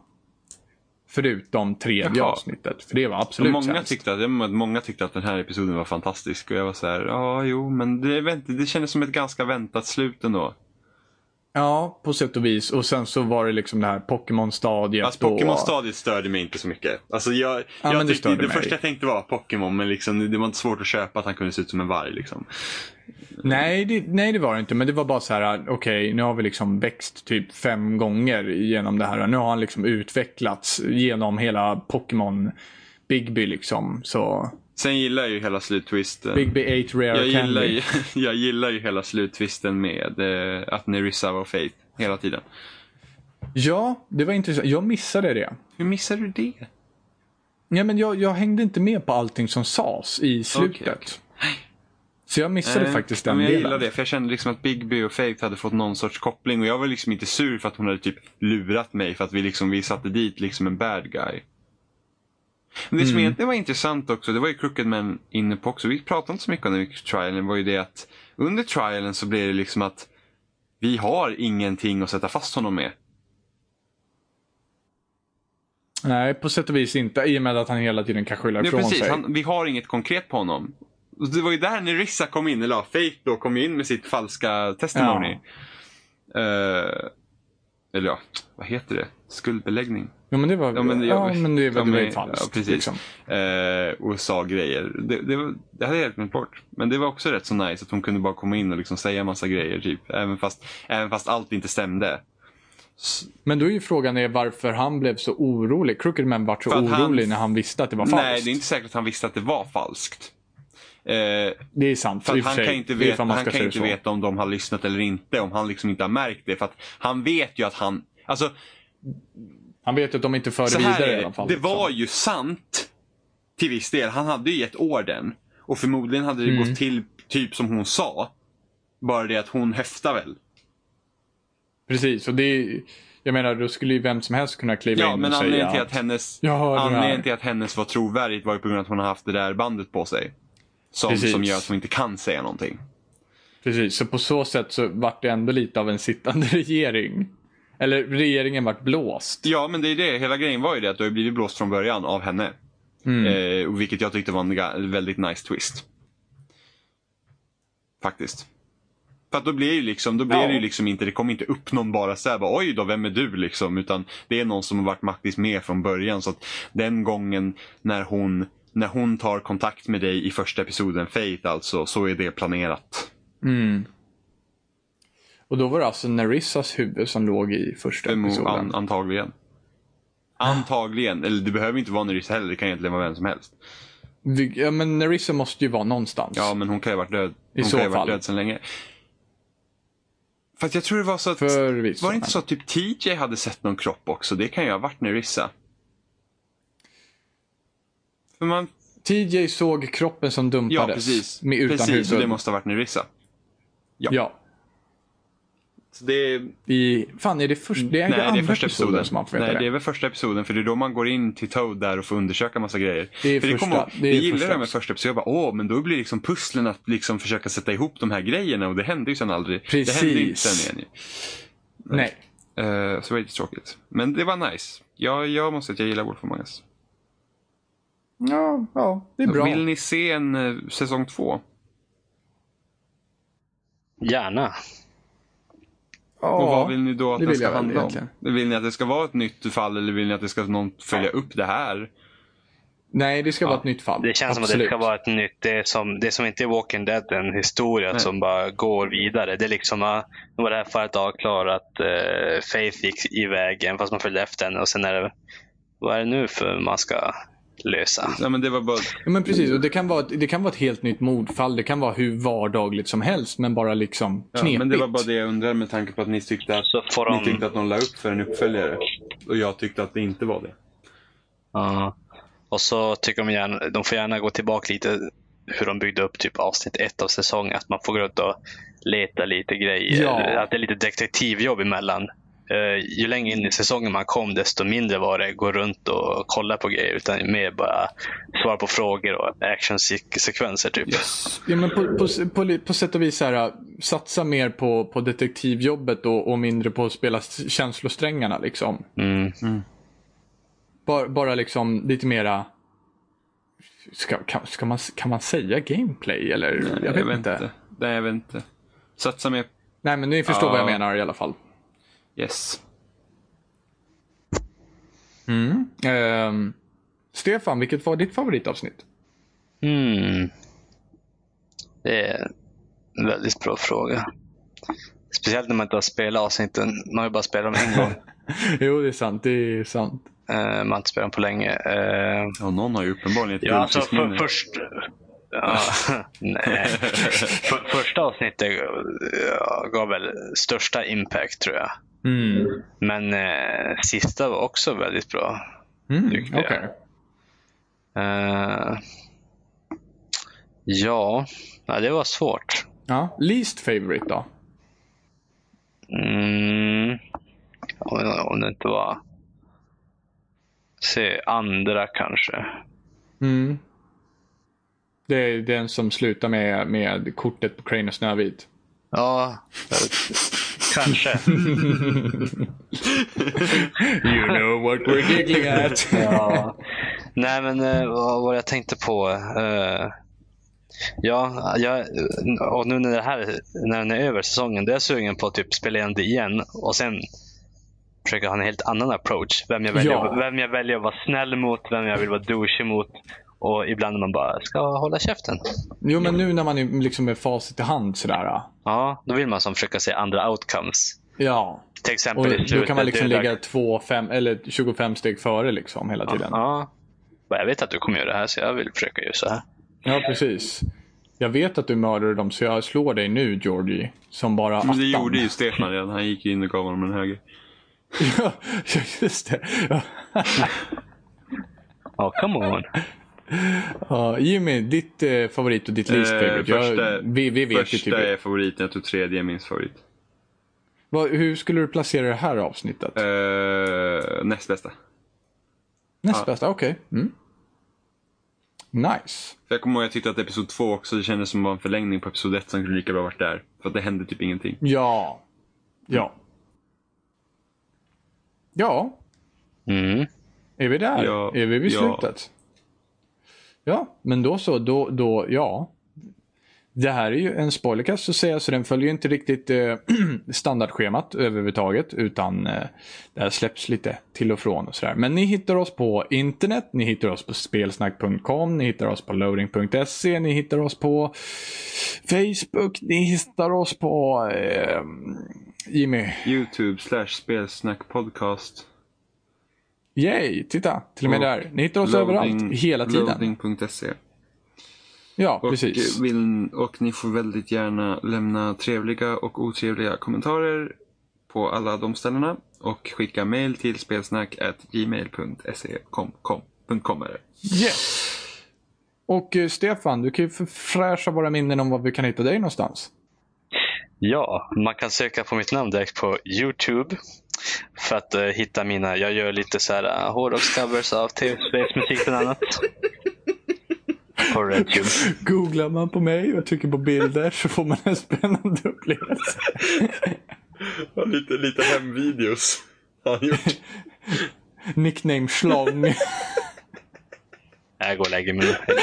Förutom tredje Jaha. avsnittet, för det var Och absolut många, sämst. tyckte att, ja, men många tyckte att den här episoden var fantastisk och jag var så här, ja jo, men det, vänt, det kändes som ett ganska väntat slut ändå. Ja, på sätt och vis. Och sen så var det liksom det här Pokémon-stadiet. Alltså Pokémon och- stadiet störde mig inte så mycket. Alltså, jag, men jag det tyckte, det störde mig. första jag tänkte var Pokémon, men liksom, det var inte svårt att köpa att han kunde se ut som en varg. Liksom. Nej det, nej, det var det inte. Men det var bara så här, okej, nu har vi liksom växt typ fem gånger genom det här. Nu har han liksom utvecklats genom hela Pokémon Bigby liksom. Så Sen gillar jag ju hela sluttwisten. Bigby 8 Rare jag, gillar Candy. ju, jag gillar ju hela sluttwisten med eh, att Nerissa var Faith hela tiden. Ja, det var intressant. Jag missade det. Hur missar du det? Ja, men jag, jag hängde inte med på allting som sades i slutet. Okej, okej. Så jag missade Nej, faktiskt den men jag delen. gillar det, för jag kände liksom att Bigby och Faith hade fått någon sorts koppling och jag var liksom inte sur för att hon hade typ lurat mig för att vi liksom, vi satte dit liksom en bad guy. Men det som Mm. egentligen var intressant också, det var ju Crooked Man inne på också, vi pratade inte så mycket om det i trialen, var ju det att under trialen så blev det liksom att vi har ingenting att sätta fast honom med. Nej, på sätt och vis inte. I och med att han hela tiden kan skylla Nej, ifrån precis, sig. han, vi har inget konkret på honom. Och Det var ju där Nerissa kom in, eller ja, Faith då kom in med sitt falska testimony. Eh, eller ja, vad heter det? Skuldbeläggning. Ja, men det var, ja, men det, jag- är väl ja, men- det är falskt. ja, precis. liksom. Eh, och sa grejer. Det, det, var, det hade jag helt glömt bort. Men det var också rätt så nice att hon kunde bara komma in och liksom säga massa grejer. Typ. Även, fast, även fast allt inte stämde. Men då är ju frågan är varför han blev så orolig. Crooked Man vart så För att han- orolig när han visste att det var falskt. Nej, det är inte säkert att han visste att det var falskt. Eh, Det är sant. För i att och för han sig, kan inte, ifall veta, man han ska kan säga inte så. veta om de har lyssnat eller inte, om han liksom inte har märkt det. För att han vet ju att han... Alltså, Han vet att de inte för det så här vidare i är alla det. fall. Det liksom. var ju sant till viss del. Han hade ju gett orden. Och förmodligen hade det Mm. gått till typ som hon sa. Bara det att hon höftar väl. Precis, och det är, Jag menar, då skulle ju vem som helst kunna kliva Ja, in men och säga... anledningen till att hennes, Jag hörde det här. anledningen till att hennes var trovärdigt var ju på grund av att hon har haft det där bandet på sig. Som, Precis. som gör att hon inte kan säga någonting. Precis, så på så sätt så vart det ändå lite av en sittande regering. Eller regeringen vart blåst. Ja, men det är det. Hela grejen var ju det att du har ju blivit blåst från början av henne. Mm, Eh, och vilket jag tyckte var en ga- väldigt nice twist. Faktiskt. För att då blir, ju liksom, då blir Ja. det ju liksom inte, det kommer inte upp någon bara såhär, bara, oj då, vem är du liksom? Utan det är någon som har varit maktis med från början. Så att den gången när hon, när hon tar kontakt med dig i första episoden, Faith alltså, så är det planerat. mm. Och då var det alltså Narissas huvud som låg i första Emo- episoden. An, antagligen. Antagligen. Eller det behöver inte vara Nerissa heller, det kan egentligen vara vem som helst. Vi- Ja, men Narissa måste ju vara någonstans. Ja, men hon kan ju ha varit död. Hon så kan ju ha fall. varit död sedan länge. Fast jag tror det var så att... Förvisso, var det inte men- så att typ TJ hade sett någon kropp också? Det kan ju ha varit Nerissa. För man... TJ såg kroppen som dumpades. Ja, precis. Med utan precis, så huvud. det måste ha varit Nerissa. Ja. Så det... I, fan, är det, först, det är ju Nej, andra det är första episoden. som man får veta Nej, det det. är väl första episoden. För det är då man går in till Toad där och får undersöka massa grejer. Det är för första- kommer- det är det gillar första jag med episoden. första episoden. Jag bara, åh, men då blir liksom pusslen att liksom försöka sätta ihop de här grejerna. Och det hände ju sen aldrig. Det hände ju inte Precis. sen igen ju. Nej. Eh, så det var lite tråkigt. Men det var nice. Jag, jag måste säga att jag gillar Wolf Among Us. Ja, ja, det är bra. Vill ni se en eh, säsong två? Gärna. Och ja. vad vill ni då att det den vill ska jag väl handla om? egentligen. Vill ni att det ska vara ett nytt fall eller vill ni att det ska någon följa upp det här? Nej, det ska vara ett nytt fall. Det känns som att det Absolut. ska vara ett nytt. Det är som, det är som inte är Walking Dead, en historia Nej. som bara går vidare. Det är liksom, ah, nu var det här fallet avklarat. eh, Faith gick iväg även fast man följde efter henne. Och sen är det, vad är det nu för man ska lösa? Ja, men det var bara... Ja, men precis. Och det, kan vara ett, det kan vara ett helt nytt mordfall. Det kan vara hur vardagligt som helst, men bara liksom Ja, knepigt. men det var bara det jag undrade med tanke på att ni tyckte att, Så får de... ni tyckte att de la upp för en uppföljare. Och jag tyckte att det inte var det. Ja. Och så tycker de gärna, de får gärna gå tillbaka lite hur de byggde upp typ avsnitt ett av säsongen. Att man får gå ut och leta lite grejer. Ja. Att det är lite detektivjobb emellan. Uh, ju längre in i säsongen man kom desto mindre var det gå runt och kolla på grejer. Utan mer bara svara på frågor och actionsekvenser. Typ. Ja, men på, på, på, li- på sätt och vis så här, äh, satsa mer på, på detektivjobbet och, och mindre på att spela s- känslosträngarna. Liksom. Mm. Bara, bara liksom lite mera... Ska, kan, ska man, kan man säga gameplay? Eller? jag vet inte. Nej, jag vet inte. Satsa mer... Nej, men ni förstår vad jag Ja. menar i alla fall. Yes. Ehm, Stefan, vilket var ditt favoritavsnitt? Mm. Det är en väldigt bra fråga. Speciellt när man inte har spelat avsnitten. Man har ju bara spelat dem en gång. Jo, det är sant. Det är sant. Eh, man har inte spelat på länge. Eh, Ja, någon har ju uppenbarligen ett ja, alltså, för, guldfiskminne. först, ja, nej. För, första avsnittet ja, gav väl största impact tror jag. Mm. Men eh, sista var också väldigt bra. Mm, Tyckte jag. okej. Eh, ja, ja, det var svårt. Ja. Least favorite då? Mm, om, om det inte var... Se, andra kanske. Mm. Det är den som slutar med, med kortet på Crane och Snövit. Ja, kanske. You know what we're giggling at. Ja. Nej, men eh, vad var det jag tänkte på? Eh, ja, jag, och nu när, det här, när den är över säsongen, då är jag sugen på att typ spela igen det igen och sen försöka ha en helt annan approach. Vem jag, väljer, Ja. vem jag väljer att vara snäll mot, vem jag vill vara douche mot. Och ibland man bara ska hålla käften. Jo, men nu när man är liksom med facit i hand sådär. ja. Ja, då vill man som försöka se andra outcomes. Ja. Till Och exempel i då slutet, kan man liksom döda- ligga två, fem, eller 25 steg före liksom hela tiden. Ja. Och Jag vet att du kommer göra det här, så jag vill försöka göra så här. Ja, precis. Jag vet att du mördade dem, så jag slår dig nu, Georgie. Som bara Men attan. det gjorde ju Stefan redan. Han gick in och gav honom en höger. Ja, just det. Ja. Ja, come on. Ja, Jimmy, ditt eh, favorit och ditt least Eh, favorite. jag, första- vi, vi vet ju typ. Första är favoriten, jag tror tredje är min favorit. Vad, hur skulle du placera det här avsnittet? Eh, näst bästa. Näst bästa? Okej. Mm. Nice. För jag kommer ihåg jag tyckte att episod två också det kändes som var en förlängning på episod ett Mm. som kunde lika bra varit där. För att det hände typ ingenting. Ja. Ja. Ja, Mm. är vi där? Ja, är vi vid ja. slutet? Ja, men då så. Då, då, ja. Det här är ju en spoilercast så att säga, så den följer ju inte riktigt eh, standardschemat överhuvudtaget. Utan eh, det här släpps lite till och från och sådär. Men ni hittar oss på internet, ni hittar oss på spelsnack.com, ni hittar oss på loading.se, ni hittar oss på Facebook, ni hittar oss på eh, Jimmy. Youtube slash spelsnack podcast. Yay! Titta, till och med Och där. Ni hittar oss Loading- överallt, hela tiden. Loading.se. Ja, Och, eh, precis. vill, och ni får väldigt gärna lämna trevliga och otrevliga kommentarer på alla de ställena. Och skicka mail till spelsnack.gmail.se. Kom, kom, punkt kom är det. Yes. Och eh, Stefan, du kan ju fräscha våra minnen om var vi kan hitta dig någonstans. Ja, man kan söka på mitt namn direkt på Youtube för att eh, hitta mina. Jag gör lite så här eh, hårdrockscovers av tv-spelsmusik bland annat. På Redcube. Googlar man på mig och trycker på bilder så får man en spännande upplevelse. Lite, lite hemvideos har han gjort. Nickname Schlong. Jag går och lägger mig nu.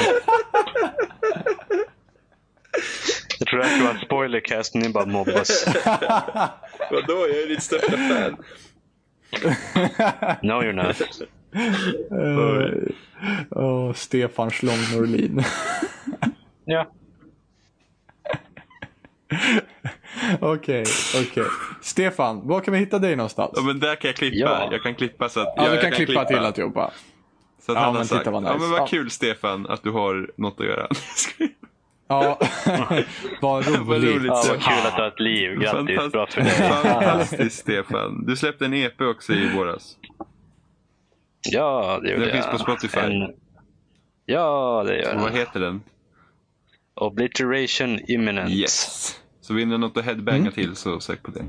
Jag tror det här ska vara en spoilercast, men ni bara mobbas. Vadå, jag är ditt största fan. No you're not. Eh, åh, Stefan Schlong Norlin. Ja. Okej, okej. Stefan, var kan vi hitta dig någonstans? Ja, men där kan jag klippa. Ja. Jag kan klippa så att... Ja, jag- du jag kan klippa, till alltihopa. Så att Ja, han men har titta sagt, vad ja nice. men Ja. vad kul Stefan att du har något att göra. Ja, vad Vad roligt. roligt. Ja, vad kul att du har ett liv. Grattis, Fantast- bra för dig. Fantastiskt Stefan. Du släppte en EP också i våras. Ja, det gjorde Den finns jag. på Spotify. Ja, det gör Och vad den. heter den? Obliteration imminent. Yes. Så vill ni något att headbanga Mm. till så sök på det.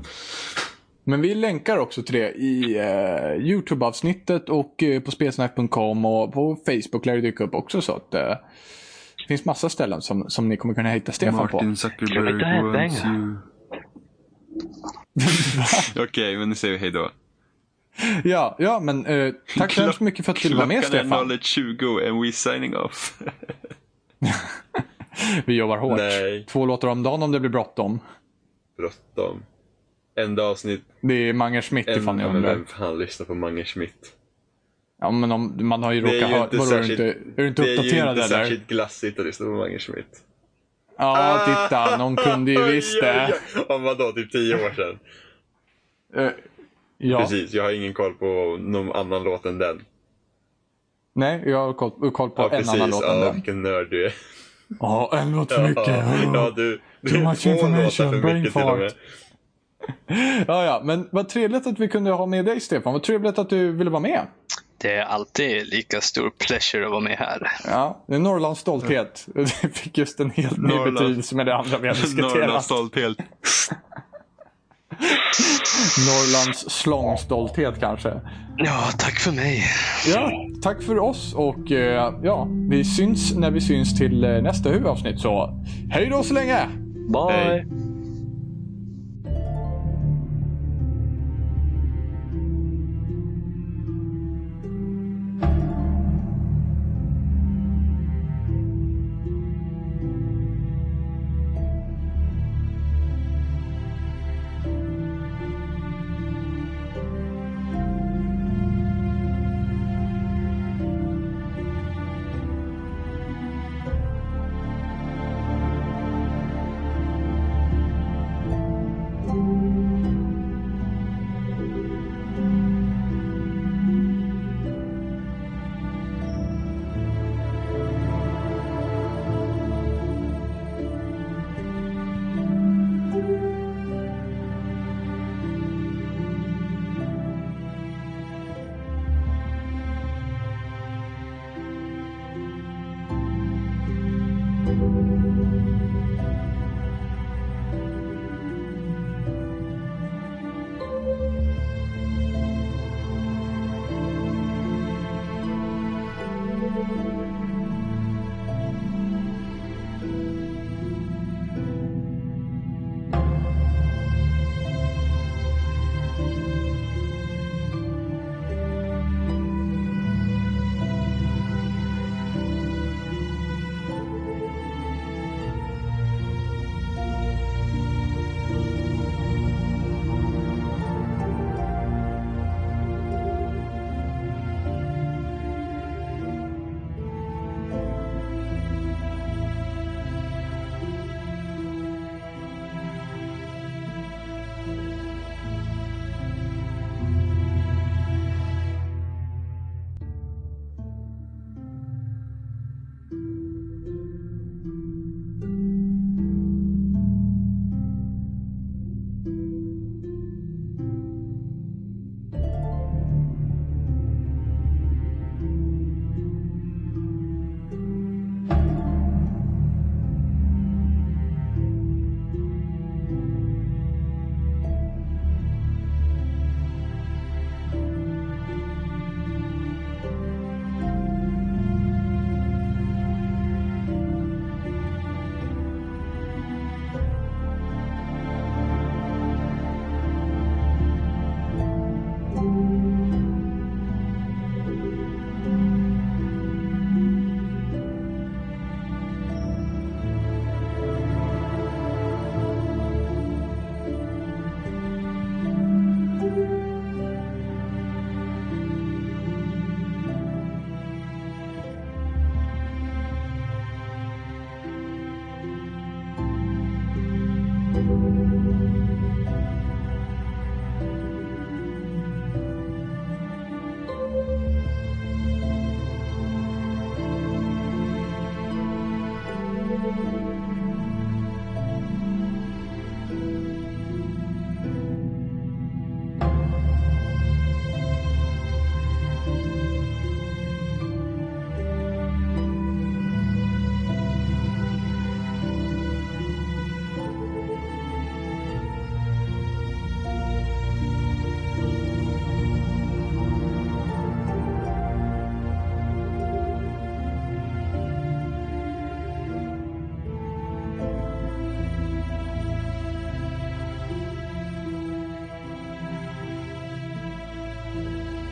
Men vi länkar också till det i eh, Youtube-avsnittet och eh, på spelsnack.com och på Facebook lär det dyka upp också. Så att, eh, det finns massa ställen som, som ni kommer kunna hitta Stefan på. Martin Ska vi inte Zuckerberg headbanga? wants you. Okej, men nu säger vi hej då. Ja, ja men eh, tack så hemskt mycket för att du ville vara med Klockan är Stefan. 01.20 and we signing off. Vi jobbar hårt. Nej. Två låtar om dagen om det blir bråttom. Bråttom. Enda avsnitt. Det är Mange Schmidt ifall ni undrar. fan lyssnar på Mange Schmidt? Ja, men om, man har ju Det är råkat höra. ju inte Vadå, är du särskilt- inte, är du inte uppdaterad eller? glassigt att lyssna på Mange Schmidt. Ja, titta. Någon kunde ju visst det. Om vadå, typ tio år sedan? Eh, Ja, Precis, jag har ingen koll på någon annan låt än den. nej, jag har koll, koll på Ja, en precis. annan låt än ja, den. vilken nörd du är. Ja, en låt för mycket. ja, du, du Too är much två låtar information, för brain mycket till och med. fart. Ja, ja, men vad trevligt att vi kunde ha med dig Stefan. Vad trevligt att du ville vara med. Det är alltid lika stor pleasure att vara med här. Ja, det är Norrlands stolthet. Det fick just en helt ny Norrland. betydelse med det andra vi har diskuterat. Norrlands Norrlands, stolthet. slångstolthet kanske. Ja, tack för mig. Ja, tack för oss och eh, ja, vi syns när vi syns till eh, nästa huvudavsnitt. Så hej då så länge! Bye. Hej.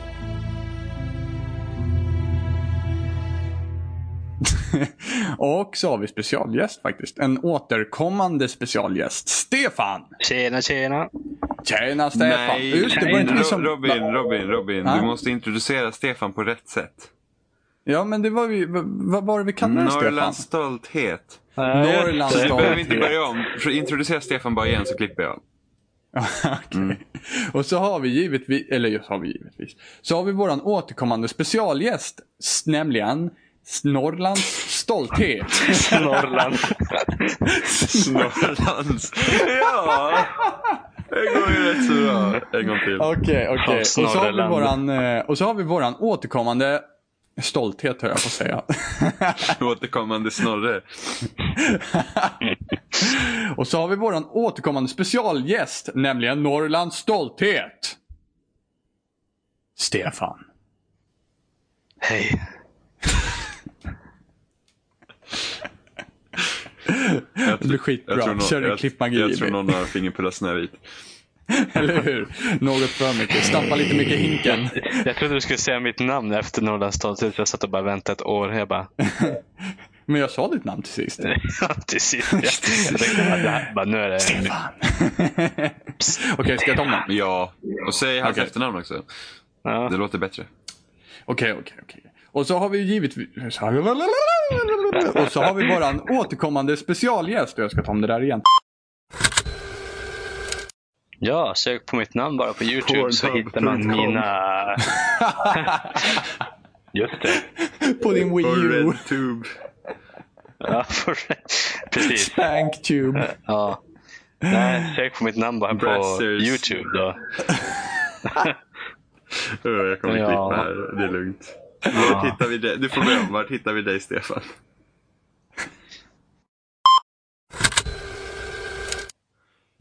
Och så har vi specialgäst faktiskt. En återkommande specialgäst. Stefan! Tjena, tjena. Tjena Stefan! Nej, Just det, var inte Ro- vi som... Robin, Robin, Robin. Ja. Du måste introducera Stefan på rätt sätt. Ja, men det var vi... v- Vad var det vi kallade den, Mm, Stefan? Norrlands stolthet. Norrlands Du Alltså, behöver vi inte stolthet. börja om. För Introducera Stefan bara igen så klipper jag. Okej. Och så har vi givetvis, eller just har vi givetvis, så har vi våran återkommande specialgäst, s- nämligen s- Norrlands stolthet. Norrland. Norrlands. Ja. Det går ju rätt så bra. En gång till. Okej, okej. Och så har vi Snorreland. våran, eh, Och så har vi våran återkommande stolthet, hör jag på att säga. Återkommande Snorre. och så har vi våran återkommande specialgäst, nämligen Norrlands stolthet. Stefan. Hej. Det blir skitbra. Jag tror någon- Kör din jag- klippmagi. Jag tror någon har fingerpulsen här vit. Eller hur? Något för mycket. Stampa lite mycket i hinken. Jag trodde du skulle säga mitt namn efter Norrlands stolthet. Jag satt och bara väntade ett år. Jag bara, Men jag sa ditt namn till sist. till sist. Jag, jag tänkte bara, det här- bara, nu är det... Fan. Okej, ska jag ta om den? Okej, Ja. Och säg hans Okej. efternamn också. Ja. Det låter bättre. okej, okej. Och så har vi givetvis... Och så har vi våran återkommande specialgäst. Jag ska ta om det där igen. ja, sök på mitt namn bara på YouTube så Pornhub.com. hittar man mina... Just det. På din Wii U. RedTube. Ja, precis. Tanktube. Ja. Nej, sök på mitt namn bara på Brassers. YouTube då. Öh, Jag kommer Ja. klippa här, det är lugnt. Vart hittar vi dig? Du får börja om. Vart hittar vi dig Stefan?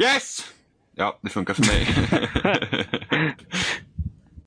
Yes! Ja, det funkar för mig.